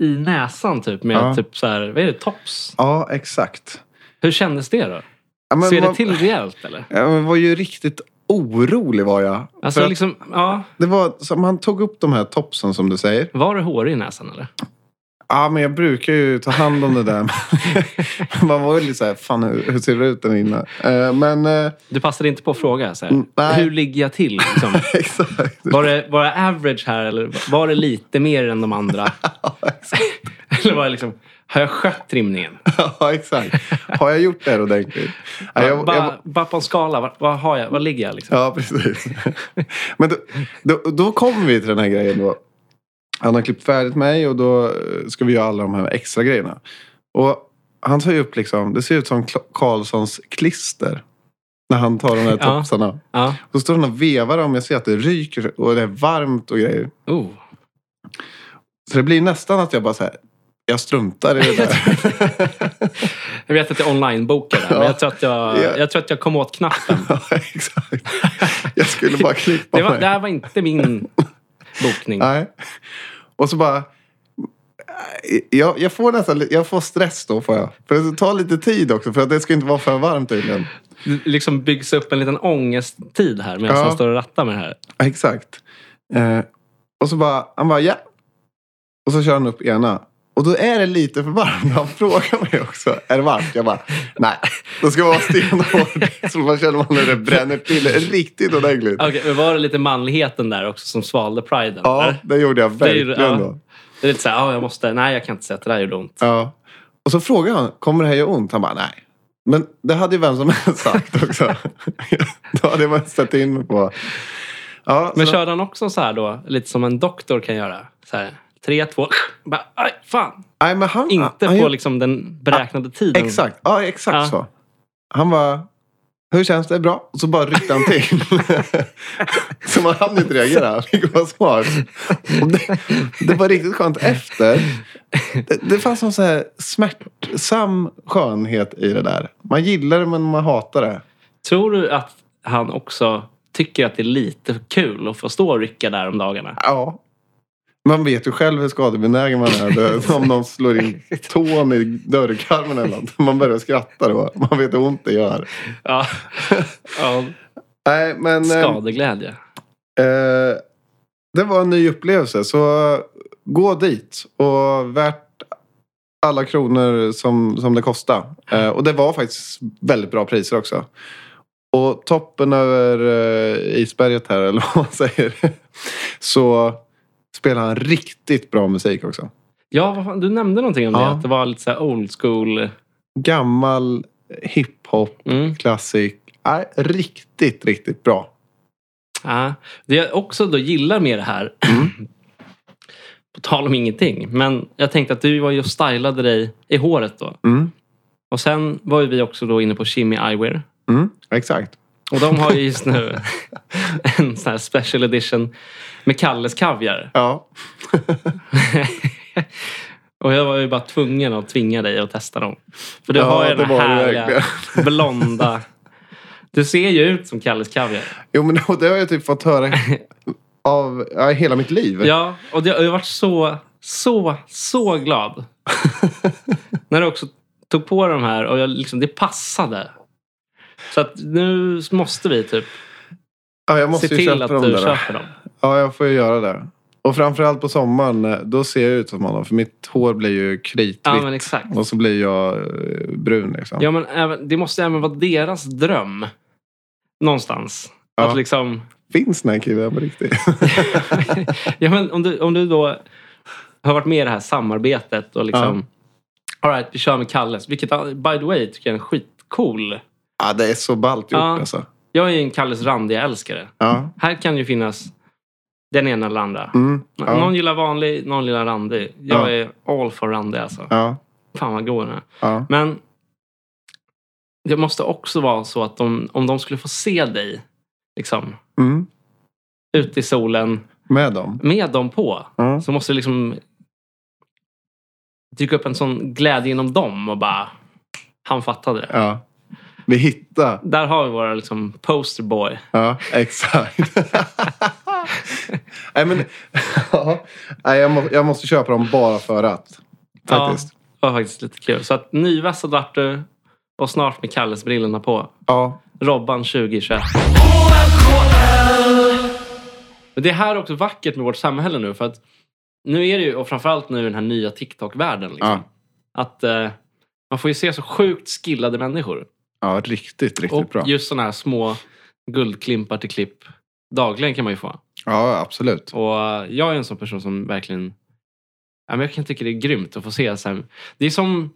i näsan typ med
Ja.
typ så här, vad är det, tops?
ja exakt.
Hur kändes det då?
Ja, men
Ser
man,
det till rejält eller?
Jag var ju riktigt orolig var jag.
Alltså
För att
liksom, ja.
Det var som han tog upp de här topsen som du säger.
Var det hår i näsan eller?
Ja, men jag brukar ju ta hand om det där. Man var ju lite så här, fan hur, hur ser det ut där inne? Eh, men eh, [LAUGHS]
Du passade inte på att fråga så här.
Mm, nej.
Hur ligger jag till
[LAUGHS]
liksom?
exakt.
Var det, var det average här eller var det lite mer än de
[LAUGHS]
andra? [LAUGHS] eller var det liksom, har jag skött trimningen?
ja, exakt. Har jag gjort det här ordentligt? Ja, jag,
bara,
jag,
bara på en skala, var, var, har jag, var ligger jag liksom?
ja precis. [LAUGHS] Men då, då, då kom vi till den här grejen då. Han har klippt färdigt mig och då eh, ska vi göra alla de här extra grejerna. Och han tar ju upp liksom, det ser ut som Kla- Karlssons klister. När han tar de här
Ja.
topsarna.
Ja.
Så står han och vevar om. Jag ser att det ryker och det är varmt och grejer.
Oh.
Så det blir nästan att jag bara så här, jag struntar
[LAUGHS]
i det där.
Jag vet att jag online-bokade, men
Ja.
jag tror, att jag,
Ja.
jag tror att jag kom åt knappen.
ja, exakt. Jag skulle [LAUGHS] bara klippa
Det, var,
mig.
det här var inte
[LAUGHS]
min bokning.
Nej. Och så bara... Jag, jag får nästan li- jag får stress då. Får jag. För det tar lite tid också. För att det ska inte vara för varmt tydligen.
Det liksom byggs upp en liten ångesttid här medan
Ja.
jag står och rattar med det här.
Ja, Exakt. Eh, och så bara, han bara ja. Och så kör han upp ena. Och då är det lite för varmt. Han frågar mig också, är det varmt? Jag bara, nej. Då ska det vara stenhårt. [LAUGHS] Så man känner man hur det bränner till riktigt ordentligt.
Okej, men var det lite manligheten där också som svalde priden?
Ja,
eller?
det gjorde jag
Det är ju-
verkligen
ja.
då.
Det är lite så här, ja, jag måste, nej jag kan inte säga att det där gjorde ont.
Ja. Och så frågar han, kommer det här göra ont? Han bara, nej. Men det hade ju vem som
[LAUGHS]
helst sagt också. [LAUGHS] då hade man sett in mig på. Ja,
Men
så-
körde han också så här då, lite som en doktor kan göra? Så här, tre, två, bara, aj, fan.
nej, men han,
Inte
han,
på
gjorde-
liksom den beräknade tiden.
Exakt, ja exakt
Ja.
så. Han var hur känns det? Bra? Och så bara ryckte han till. så man hann inte reagera, vilket var smart. Och Det, det var riktigt skönt efter. Det, det fanns någon så här smärtsam skönhet i det där. Man gillar det men man hatar det.
Tror du att han också tycker att det är lite kul att få stå och rycka där om dagarna?
Ja. Man vet ju själv hur skadebenägen man är. Det- Om någon slår in tån i dörrkarmen eller något. Man börjar skratta då. Man vet hur ont det gör. [LAUGHS]
Ja. ja.
Nej, men... eh,
Skadeglädje.
Eh, det var en ny upplevelse, så gå dit. Och värt alla kronor som, som det kostade. Eh, och det var faktiskt väldigt bra priser också. Och toppen över eh, isberget här, [LAUGHS] eller vad man säger, så spelar han riktigt bra musik också.
Ja, vad fan, du nämnde någonting om det.
Ja.
Att det var lite så här old school.
Gammal hiphop,
Mm.
klassik. Nej, riktigt, riktigt bra.
Ja. Det jag också då gillar med det här,
Mm.
[CLEARS THROAT] på tal om ingenting, men jag tänkte att du var ju och stylade dig i håret då.
Mm.
Och sen var ju vi också då inne på Kimi Eyewear.
Mm, exakt.
Och de har ju just
[LAUGHS]
nu en sån här special edition med Kalles kaviar.
Ja.
Och jag var ju bara tvungen att tvinga dig att testa dem. För du
Ja,
har ju
det
den
var det
härliga,
[LAUGHS]
blonda... Du ser ju ut som Kalles kaviar.
Jo, men [LAUGHS] det har jag typ fått höra av ja, hela mitt liv.
Ja, och det, jag har varit så, så, så
[LAUGHS]
glad. När du också tog på de här och jag, liksom, det passade. Så att nu måste vi typ
Ja, jag måste
se
ju
till
köpa
att
dem
du
där.
köper dem.
Ja, jag får ju göra det. Och framförallt på sommaren, eh, då ser jag ut som honom. För mitt hår blir ju kritvitt.
Ja, men exakt.
Och så blir jag eh, brun liksom.
Ja, men även, det måste även vara deras dröm. Någonstans.
Ja.
Att liksom... [LAUGHS]
Finns den här killen på riktigt?
ja, men om, du, om du då har varit med i det här samarbetet och liksom... All right, vi kör med Kalles. Vilket, by the way, tycker jag är en skitcool...
[LAUGHS] Ja, det är så ballt gjort
Ja.
alltså.
Jag är ju en Kalles Randia-älskare.
Ja.
Här kan ju finnas den ena eller andra.
Mm. Ja.
Någon gillar vanlig, någon gillar randig. Jag
Ja.
är all for randig alltså.
Ja.
Fan vad god den är.
Ja.
Men det måste också vara så att de, om de skulle få se dig liksom,
Mm.
ute i solen
Med dem.
med dem på
Ja.
så måste det liksom dyka upp en sån glädje inom dem och bara han fattade det.
ja. Vi hittar.
Där har vi våra liksom, posterboy.
Ja, exakt. [LAUGHS] Nej, men, [LAUGHS] ja. Nej, jag, må, jag måste köpa dem bara för att. Faktiskt.
Ja, det var faktiskt lite kul. Så att nyvässad vart du och snart med Kalles brillorna på.
Ja.
Robban 2021. Men det här är också vackert med vårt samhälle nu. För att nu är det ju, och framförallt nu i den här nya TikTok-världen. Liksom,
Ja.
Att eh, man får ju se så sjukt skillade människor.
ja, riktigt, riktigt
Och
bra.
just sådana här små guldklimpar till klipp. Dagligen kan man ju få.
Ja, absolut.
Och eh, jag är en sån person som verkligen... Ja, men jag kan tycka det är grymt att få se. Så här. Det är som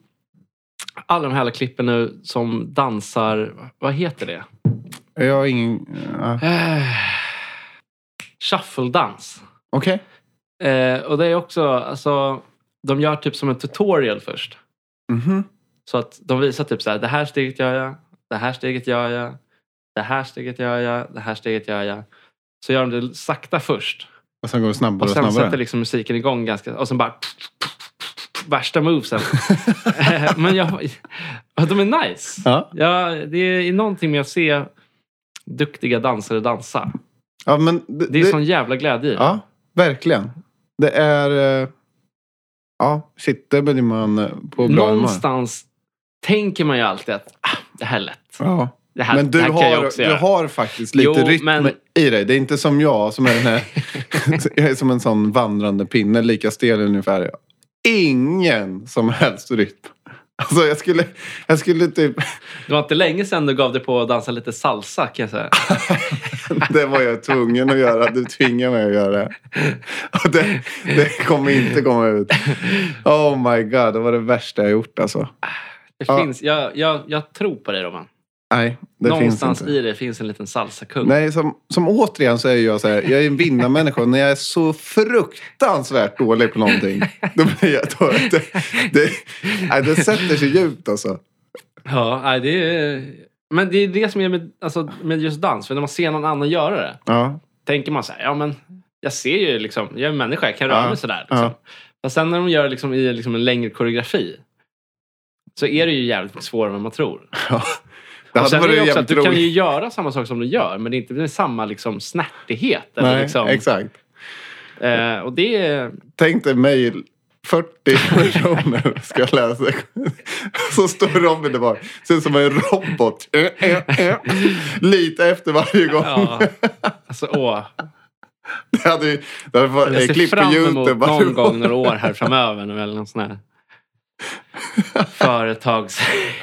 alla de här klippen nu som dansar... Vad heter det? [SIGHS]
Jag har ingen... Ja.
Eh, Shuffle-dans.
Okej.
Eh, och det är också, alltså, de gör typ som en tutorial först.
Mhm.
Så att de visar typ så här, det här steget gör jag, det här steget gör jag, det här steget gör jag, det här steget gör jag. Så gör de det sakta först.
Och sen går det snabbare
Och
och,
sen sätter
snabbare.
liksom musiken igång ganska, och sen bara värsta movesen. Eh, [LAUGHS] Men jag, de är nice.
[LAUGHS] Ja.
Ja, det är någonting med att se duktiga dansare dansa.
ja, men det,
Det är
det-
sån jävla glädje i det.
Ja, verkligen. Det är... eh, Ja, shit, där blir man eh, på bra humör.
Någonstans tänker man ju alltid att ah, det här är lätt.
Ja.
Det här,
men du,
det här kan jag
har,
också
du
göra.
har faktiskt lite
Jo,
rytm
men-
i dig. Det är inte som jag som är
[LAUGHS]
den här... [LAUGHS] jag är som en sån vandrande pinne, lika stel ungefär. Ingen som helst rytm. Alltså jag skulle, jag skulle typ... [LAUGHS]
Det var inte länge sedan du gav dig på att dansa lite salsa kan jag säga.
Det var jag tvungen att göra. Du tvingade mig att göra det. Och det, det kommer inte komma ut. Oh my god, det var det värsta jag gjort alltså.
Det
Ja.
finns, jag, jag, jag tror på dig Robban.
Nej, det
Någonstans
finns inte.
i dig finns en liten salsakung.
[LAUGHS] Nej, som, som återigen så är jag så här, jag är en vinnarmänniska och när jag är så fruktansvärt dålig
[LAUGHS]
på någonting. Då blir jag då, det, det, nej, det sätter sig djupt alltså.
Ja, nej, det är, men det är det som är med, alltså, med just dans. För när man ser någon annan göra det,
Ja,
tänker man så här, ja men jag ser ju liksom, jag är en människa, jag kan röra
Ja,
mig sådär. Liksom.
ja.
Men sen när de gör det liksom, i liksom en längre koreografi, så är det ju jävligt mycket svårare än vad man tror.
det
Och
hade
sen är det
varit
ju också att
jävligt
du kan ju
roligt.
göra samma sak som du gör, men det är inte med samma liksom, snärtighet. eller
Nej,
liksom,
exakt.
eh, och det är...
Tänk dig mig, 40 personer ska läsa. Så står Robin där bak. Ser ut som en robot. Eh, eh, eh. Lite efter varje gång. [LAUGHS]
Ja, alltså, åh.
Det hade, ju- det hade varit
Jag
eh,
ser
klipp på
fram
YouTube.
emot
[LAUGHS]
någon gång några år här framöver. nu, Eller någon sån här företags... [LAUGHS]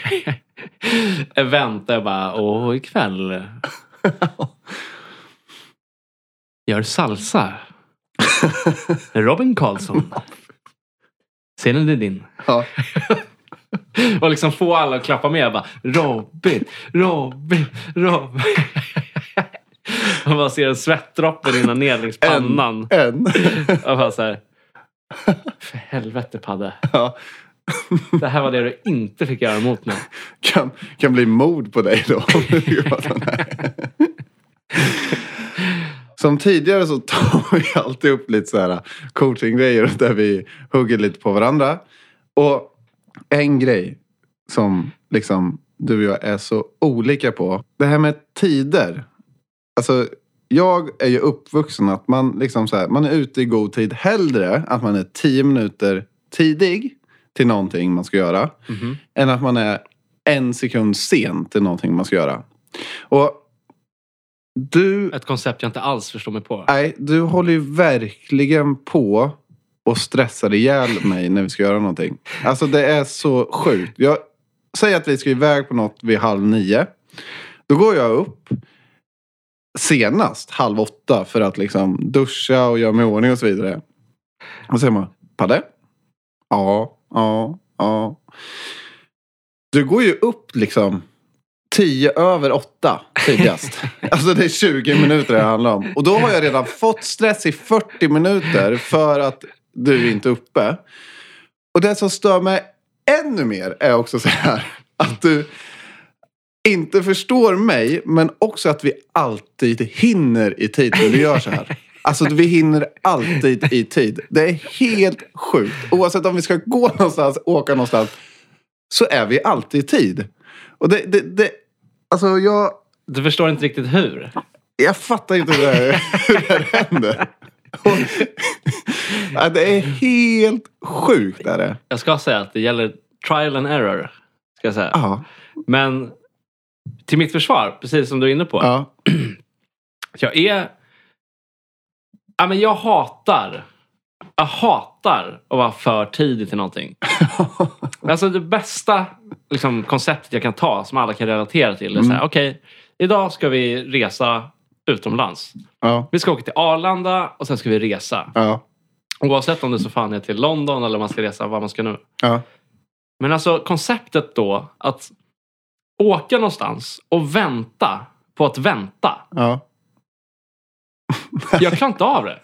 event där jag bara, åh, ikväll. Gör salsa. Robin Karlsson. Scenen är din.
Ja.
Och liksom få alla att klappa med. Jag bara, Robin, Robin, Robin. [LAUGHS] Man bara ser en svettdroppe rinna ner längs pannan.
En.
Jag bara så här. För helvete Padde.
Ja.
Det här var det du inte fick göra mot mig.
kan, kan bli mord på dig då. om du gör sån här. Som tidigare så [LAUGHS] tar vi alltid upp lite så här äh, coachinggrejer [LAUGHS] där vi hugger lite på varandra. Och en grej som liksom du och jag är så olika på. Det här med tider. Alltså jag är ju uppvuxen att man liksom så här, man är ute i god tid. Hellre att man är tio minuter tidig till någonting man ska göra. Än att man är en sekund sen till någonting man ska göra. Och du
Ett koncept jag inte alls förstår mig på.
Nej, du håller ju verkligen på och stressar ihjäl mig när vi ska göra någonting. Alltså det är så sjukt. Jag säger att vi ska iväg på något vid halv nio. Då går jag upp senast halv åtta för att liksom duscha och göra mig i ordning och så vidare. Och så säger man, tappade. Ja, ja, ja. Du går ju upp liksom tio över åtta tidigast. alltså det är 20 minuter det handlar om. Och då har jag redan fått stress i 40 minuter för att du inte är uppe. Och det som stör mig ännu mer är också så här att du inte förstår mig, men också att vi alltid hinner i tid när vi gör så här. Alltså vi hinner alltid i tid. Det är helt sjukt. Oavsett om vi ska gå någonstans, åka någonstans, så är vi alltid i tid. Och det, det, det alltså jag,
Du förstår inte riktigt hur.
jag fattar inte hur det här, [LAUGHS] hur det här händer. Och, ja, det är helt sjukt. Är det.
Jag ska säga att det gäller trial and error. Ska jag säga.
Ja,
Men till mitt försvar, precis som du är inne på.
ja,
Jag är... Ja, men jag hatar... Jag hatar att vara för tidig till någonting. alltså det bästa liksom, konceptet jag kan ta som alla kan relatera till är så här, okej, idag ska vi resa utomlands.
ja,
Vi ska åka till Arlanda och sen ska vi resa.
ja,
Oavsett om det så fan är till London eller om man ska resa var man ska nu.
ja.
Men alltså konceptet då att åka någonstans och vänta på att vänta.
ja.
Jag klarar inte
[LAUGHS]
av det.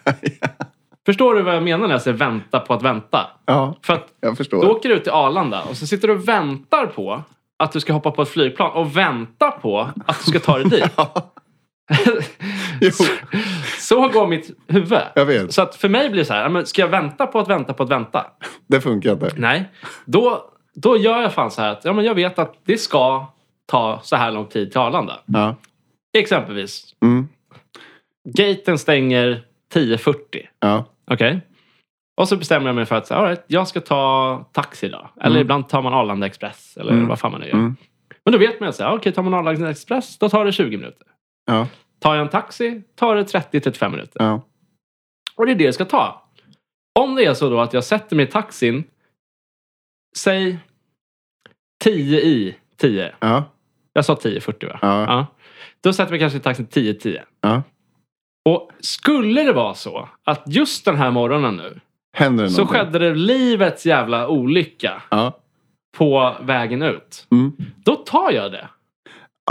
Förstår du vad jag menar när jag säger vänta på att vänta?
Ja,
För att
jag förstår.
du åker ut till Arlanda och så sitter du och väntar på att du ska hoppa på ett flygplan och vänta på att du ska ta dig dit. [LAUGHS]
jo,
Så går mitt huvud.
jag vet.
Så att för mig blir det så här, ja, men ska jag vänta på att vänta på att vänta?
Det funkar inte.
Nej, då, då gör jag fan så här att ja, men jag vet att det ska ta så här lång tid till Arlanda.
Ja.
Exempelvis,
Mm.
gaten stänger 10.40.
Ja.
Okej. Och så bestämmer jag mig för att så här, all right, jag ska ta taxi idag. Eller ibland tar man Arlanda Express eller vad fan man nu gör.
Mm.
Men då vet man ju så här, okej, tar man Arlanda Express då tar det 20 minuter.
Ja.
Tar jag en taxi tar det 30-35 minuter.
Ja.
Och det är det jag ska ta. Om det är så då att jag sätter mig i taxin, säg 10 i 10.
Ja.
Jag sa 10.40 va?
Ja.
Då sätter vi kanske i taxin 10.10.
Ja.
Och skulle det vara så att just den här morgonen nu
Händer det
så
någonting?
skedde det livets jävla olycka
Ja.
på vägen ut.
Mm.
Då tar jag det.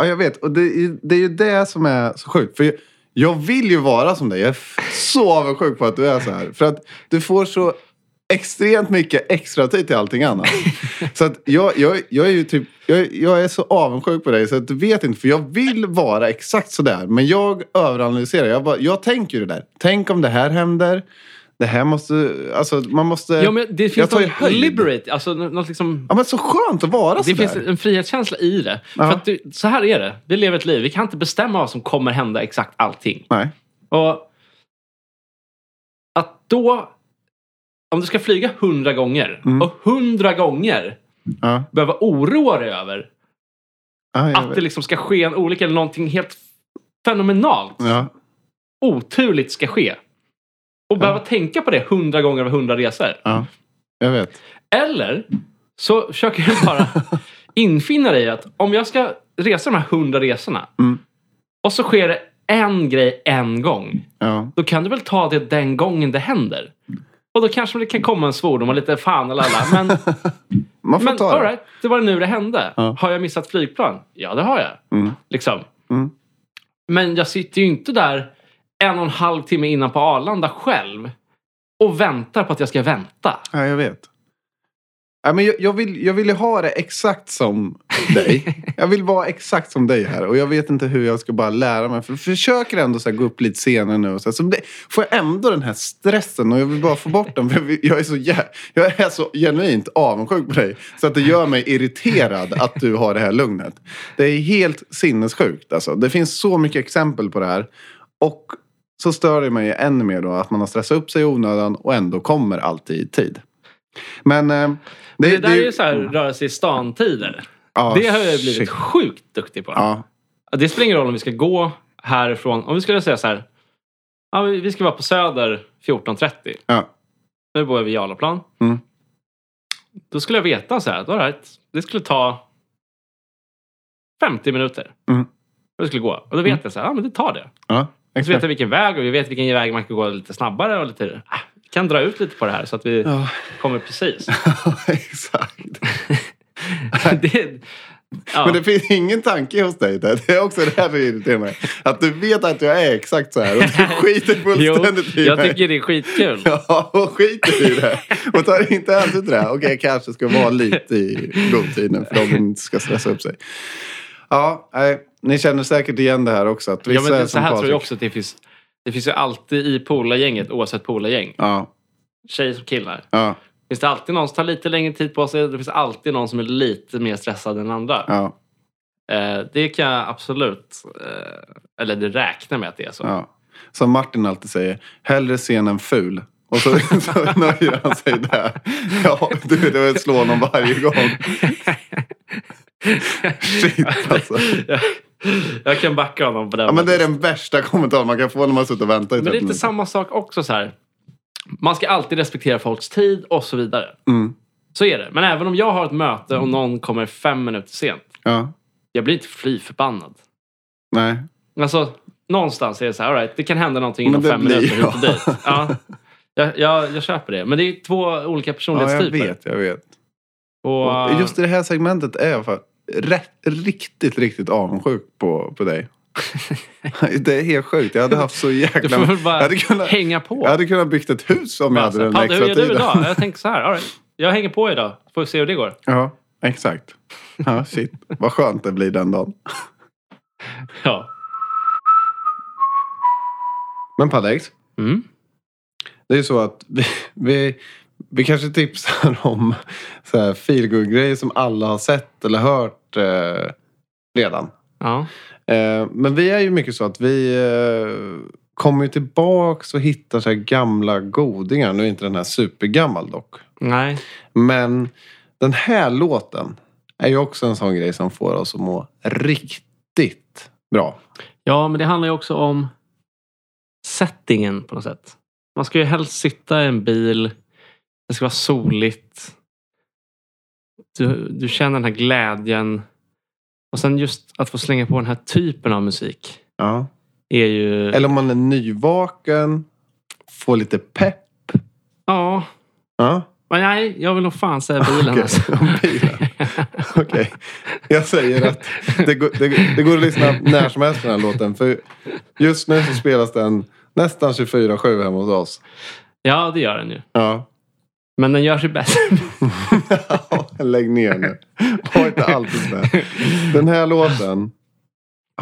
ja, jag vet. Och det, är- det är ju det som är så sjukt. För jag, jag vill ju vara som dig. Jag är f- så avundsjuk på att du är så här. För att du får så extremt mycket extra tid till allting
[LAUGHS]
annat. Så att jag, jag, jag är ju typ... Jag, jag är så avundsjuk på dig så att du vet inte. För jag vill vara exakt så där. Men jag överanalyserar. Jag, bara, jag tänker ju det där. Tänk om det här händer. Det här måste... Alltså man måste...
Ja, men det
jag
finns
tar ju
något
höjd.
liberate, alltså nå- något liksom...
Ja, men så skönt att vara
Det
sådär.
finns en frihetskänsla i det. För att du, så här är det. Vi lever ett liv. Vi kan inte bestämma vad som kommer hända exakt allting.
Nej.
Och att då... Om du ska flyga hundra gånger
Mm.
och hundra gånger
Ja.
behöva oroa dig över
Ja, jag
att det
vet.
liksom ska ske en olycka eller någonting helt fenomenalt
ja.
oturligt ska ske. Och behöva tänka på det hundra gånger över hundra resor.
ja, jag vet.
Eller så försöker du
[LAUGHS]
bara infinna dig i att om jag ska resa de här hundra resorna
Mm.
och så sker det en grej en gång.
Ja.
Då kan du väl ta det den gången det händer. Och då kanske det kan komma en svordom och lite fan eller
[LAUGHS]
alla. Men,
Man får
men
ta det.
all right, det var nu det hände.
Ja.
Har jag missat flygplan? Ja, det har jag.
Mm.
Liksom.
Mm.
Men jag sitter ju inte där en och en halv timme innan på Arlanda själv och väntar på att jag ska vänta.
Ja, jag vet. Ja, men jag, jag, vill, jag vill ju ha det exakt som
[LAUGHS]
dig. Jag vill vara exakt som dig här. Och jag vet inte hur jag ska bara lära mig. För jag försöker ändå så här, gå upp lite senare nu. Och så, här, så det, får jag ändå den här stressen. Och jag vill bara få bort den. För jag vill- jag är så, jä- jag är så genuint avundsjuk på dig. Så att det gör mig irriterad att du har det här lugnet. Det är helt sinnessjukt. Alltså. Det finns så mycket exempel på det här. Och så stör det mig ännu mer då. Att man har stressat upp sig i onödan. Och ändå kommer alltid i tid. Men... Eh,
Det, där är ju så här röra sig i stan-tider.
Ja,
det har jag ju blivit
Ah, shit. Ah.
sjukt duktig på.
Ja,
Det spelar ingen roll om vi ska gå härifrån. Om vi skulle säga så här. Ja, vi vi ska vara på Söder 14.30.
ja,
Nu bor jag vid Jarlaplan.
Mm.
Då skulle jag veta så här. att, All right, det skulle ta 50 minuter.
Mm.
Och det skulle gå. Och då vet jag så här. Ja, men det tar det.
ja.
Så vet
Exakt.
jag vilken väg och vi vet vilken väg man kan gå lite snabbare och lite, ah, kan dra ut lite på det här så att vi
Ja.
kommer precis.
[LAUGHS]
[LAUGHS]
Exakt.
det, ja.
Men det finns ingen tanke hos dig där. Det är också det här som irriterar mig. Att du vet att jag är exakt så här och du skiter
[LAUGHS] jo,
fullständigt i
jag
mig.
tycker det är skitkul.
[LAUGHS] Ja, och skiter i det. Och tar inte hänsyn till det. här. Okej, jag kanske ska vara lite i godtiden för de inte ska stressa upp sig. Ja, nej, ni känner säkert igen det här också. Att
Ja,
vissa är
men så
som
här tror jag
Patrik.
också att det finns. Det finns ju alltid i polargänget, oavsett polargäng,
Ja,
tjejer som killar.
ja,
Finns det alltid någon som tar lite längre tid på sig? Det finns alltid någon som är lite mer stressad än andra.
ja,
Eh, det kan jag absolut, eh, eller det räknar med att det är så.
ja. Som Martin alltid säger, hellre sen än ful. Och så, [LAUGHS] så nöjer han sig där. Ja, du, det var ett slå honom
[LAUGHS]
varje gång. Shit alltså.
jag, [LAUGHS] jag kan backa honom på den.
Ja, men det är
punkten.
den värsta kommentaren man kan få när man suttit och väntat i
men
30
det är lite
minuter.
samma sak också så här. Man ska alltid respektera folks tid och så vidare.
Mm.
Så är det. Men även om jag har ett möte och någon kommer fem minuter sent.
Ja,
Jag blir inte fly förbannad.
nej.
Alltså, någonstans är det så här, all right, det kan hända någonting
Men
inom
det
fem
blir
minuter hit och
jag.
dit.
[LAUGHS]
Ja, jag, jag, jag köper det. Men det är två olika
Ja, jag
personlighetstyper.
vet, jag vet.
Och,
Och just i det här segmentet är jag för rätt, riktigt, riktigt avundsjuk på,
[LAUGHS]
på dig. det är helt sjukt. Jag hade haft så
du
jäkla...
får väl bara
jag, hade kunnat,
hänga på.
jag hade kunnat byggt ett hus om jag
Bara så
hade
här,
den
"Padda,
extra
hur gör du
tiden.
idag? Jag tänker så här, all right, jag hänger på idag. Får vi se hur det går.
Ja, exakt. Ja, shit. Vad skönt det blir den dagen.
Ja.
Men Paddex,
Mm.
det är ju så att vi, vi, vi kanske tipsar om så här feelgood-grejer som alla har sett eller hört eh, redan.
Ja.
Eh, men vi är ju mycket så att vi eh, kommer ju tillbaks och hittar så här gamla godingar. Nu är inte den här supergammal dock.
Nej.
Men den här låten är ju också en sån grej som får oss att må riktigt bra.
Ja, men det handlar ju också om settingen på något sätt. Man ska ju helst sitta i en bil. Det ska vara soligt. Du, du känner den här glädjen. Och sen just att få slänga på den här typen av musik
Ja.
är ju...
Eller om man är nyvaken, får lite pepp.
Ja,
Ja,
men nej, jag vill nog fan säga bilen.
[LAUGHS] okej.
alltså.
Bilen. Okej. Jag säger att det går, det, det går att lyssna när som helst på den här låten. För just nu så spelas den nästan 24-7 hemma hos oss.
Ja, det gör den ju.
Ja. [LAUGHS]
Men den gör sig bäst.
Lägg ner nu. Var inte alltid sådär. Den här låten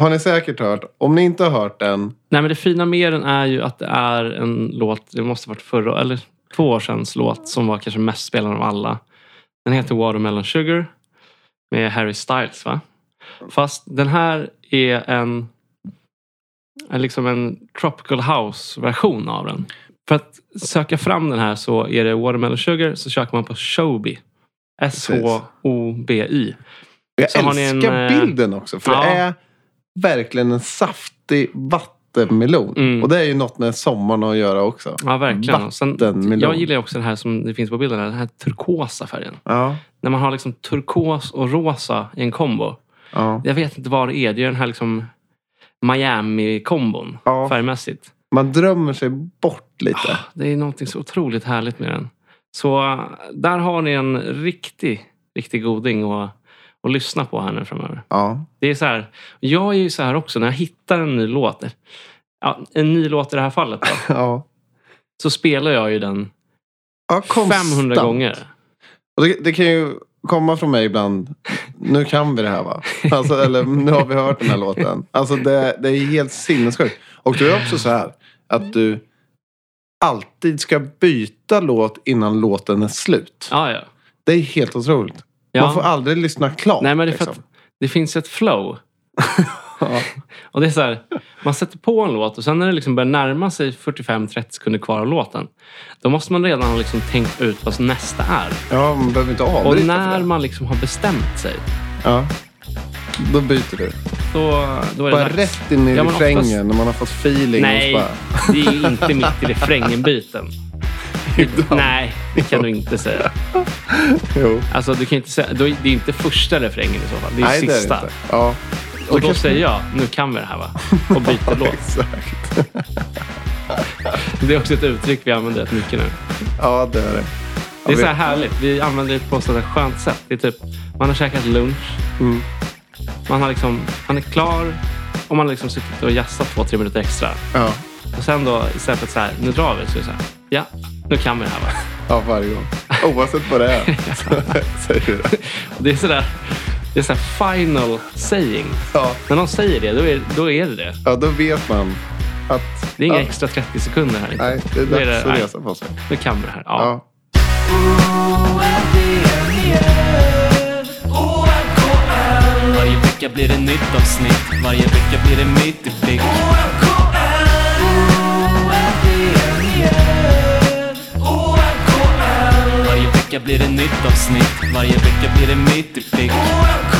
har ni säkert hört. Om ni inte har hört den.
nej, men det fina med den är ju att det är en låt, det måste ha varit förra, eller två år sedan låt som var kanske mest spelad av alla. Den heter Watermelon Sugar med Harry Styles va? Fast den här är en, är liksom en Tropical House-version av den. För att söka fram den här så är det Watermelon Sugar så söker man på Shobi. S-H-O-B-Y.
Jag
Så har ni en,
älskar
eh,
bilden också. För
ja.
det är verkligen en saftig vattenmelon.
Mm.
Och det är ju något med sommaren att göra också.
Ja, verkligen. Och Sen,
Vattenmelon.
jag gillar ju också den här som det finns på bilden, här, den här turkosa färgen.
Ja.
När man har liksom turkos och rosa i en kombo.
ja.
Jag vet inte vad det är. Det är den här liksom Miami-kombon
Ja.
färgmässigt.
Man drömmer sig bort lite.
Det är någonting så otroligt härligt med den. Så äh, där har ni en riktig, riktig goding att, att lyssna på här nu framöver.
Ja.
Det är så här, jag är ju så här också, när jag hittar en ny låt. Ja, en ny låt i det här fallet
[LAUGHS]
då,
Ja.
så spelar jag ju den
ja konstant.
500 gånger.
Och det, det kan ju komma från mig ibland. Nu kan vi det här va? Alltså, eller nu har vi hört den här låten. Alltså det, det är helt sinnessjukt. Och du är också så här att du alltid ska byta låt innan låten är slut.
Ja, ja.
Det är helt otroligt.
Ja.
Man får aldrig lyssna klart.
Nej, men det är för att
liksom.
det finns ett flow.
Ja.
Och det är så här, man sätter på en låt och sen när det liksom börjar närma sig 45-30 sekunder kvar av låten. Då måste man redan ha liksom tänkt ut vad nästa är.
ja, man behöver inte
Och
avbryta för
när
det.
man liksom har bestämt sig,
Ja. Då byter du.
då, då är det
Bara
dags.
rätt in i
Ja, men
refrängen
oftast-
när man har fått feeling.
Nej,
Och så bara,
det är ju inte mitt i
[LAUGHS]
refrängen-biten. Nej, det kan du inte säga.
jo.
Alltså, du kan inte säga då är- det är inte första refrängen i så fall. Det är
Nej, det är det
sista.
inte. Ja.
Och då
kanske- [LAUGHS]
säger jag, nu kan vi det här va? Och byter låt.
Exakt.
Det är också ett uttryck vi använder rätt mycket nu.
[LAUGHS] Ja, det är det.
Det är
Ja,
så
vi-
här härligt. Vi använder det på ett sådant här skönt sätt. Det är typ, man har käkat lunch.
Mm.
Man, har liksom, man är klar och man har liksom suttit och jazzat två, tre minuter extra.
Ja,
Och sen då istället för att så här, nu drar vi, så är det så här, ja, nu kan vi det här va? [LAUGHS]
ja, varje gång. Oavsett vad det är. [LAUGHS] så Säger vi det.
Och det är sådär, det är så här final saying.
Ja,
När någon säger det, då är, då är det det.
ja, då vet man att...
Det är inga
ja,
extra 30 sekunder här. inte.
Nej, det är
Då
dags att
nej,
resa på sig.
Nu kan vi det här. Ja.
Ja.
Varje vecka blir det nytt avsnitt Varje vecka blir det mitt i blick Varje vecka blir det nytt avsnitt Varje vecka blir det mitt i blick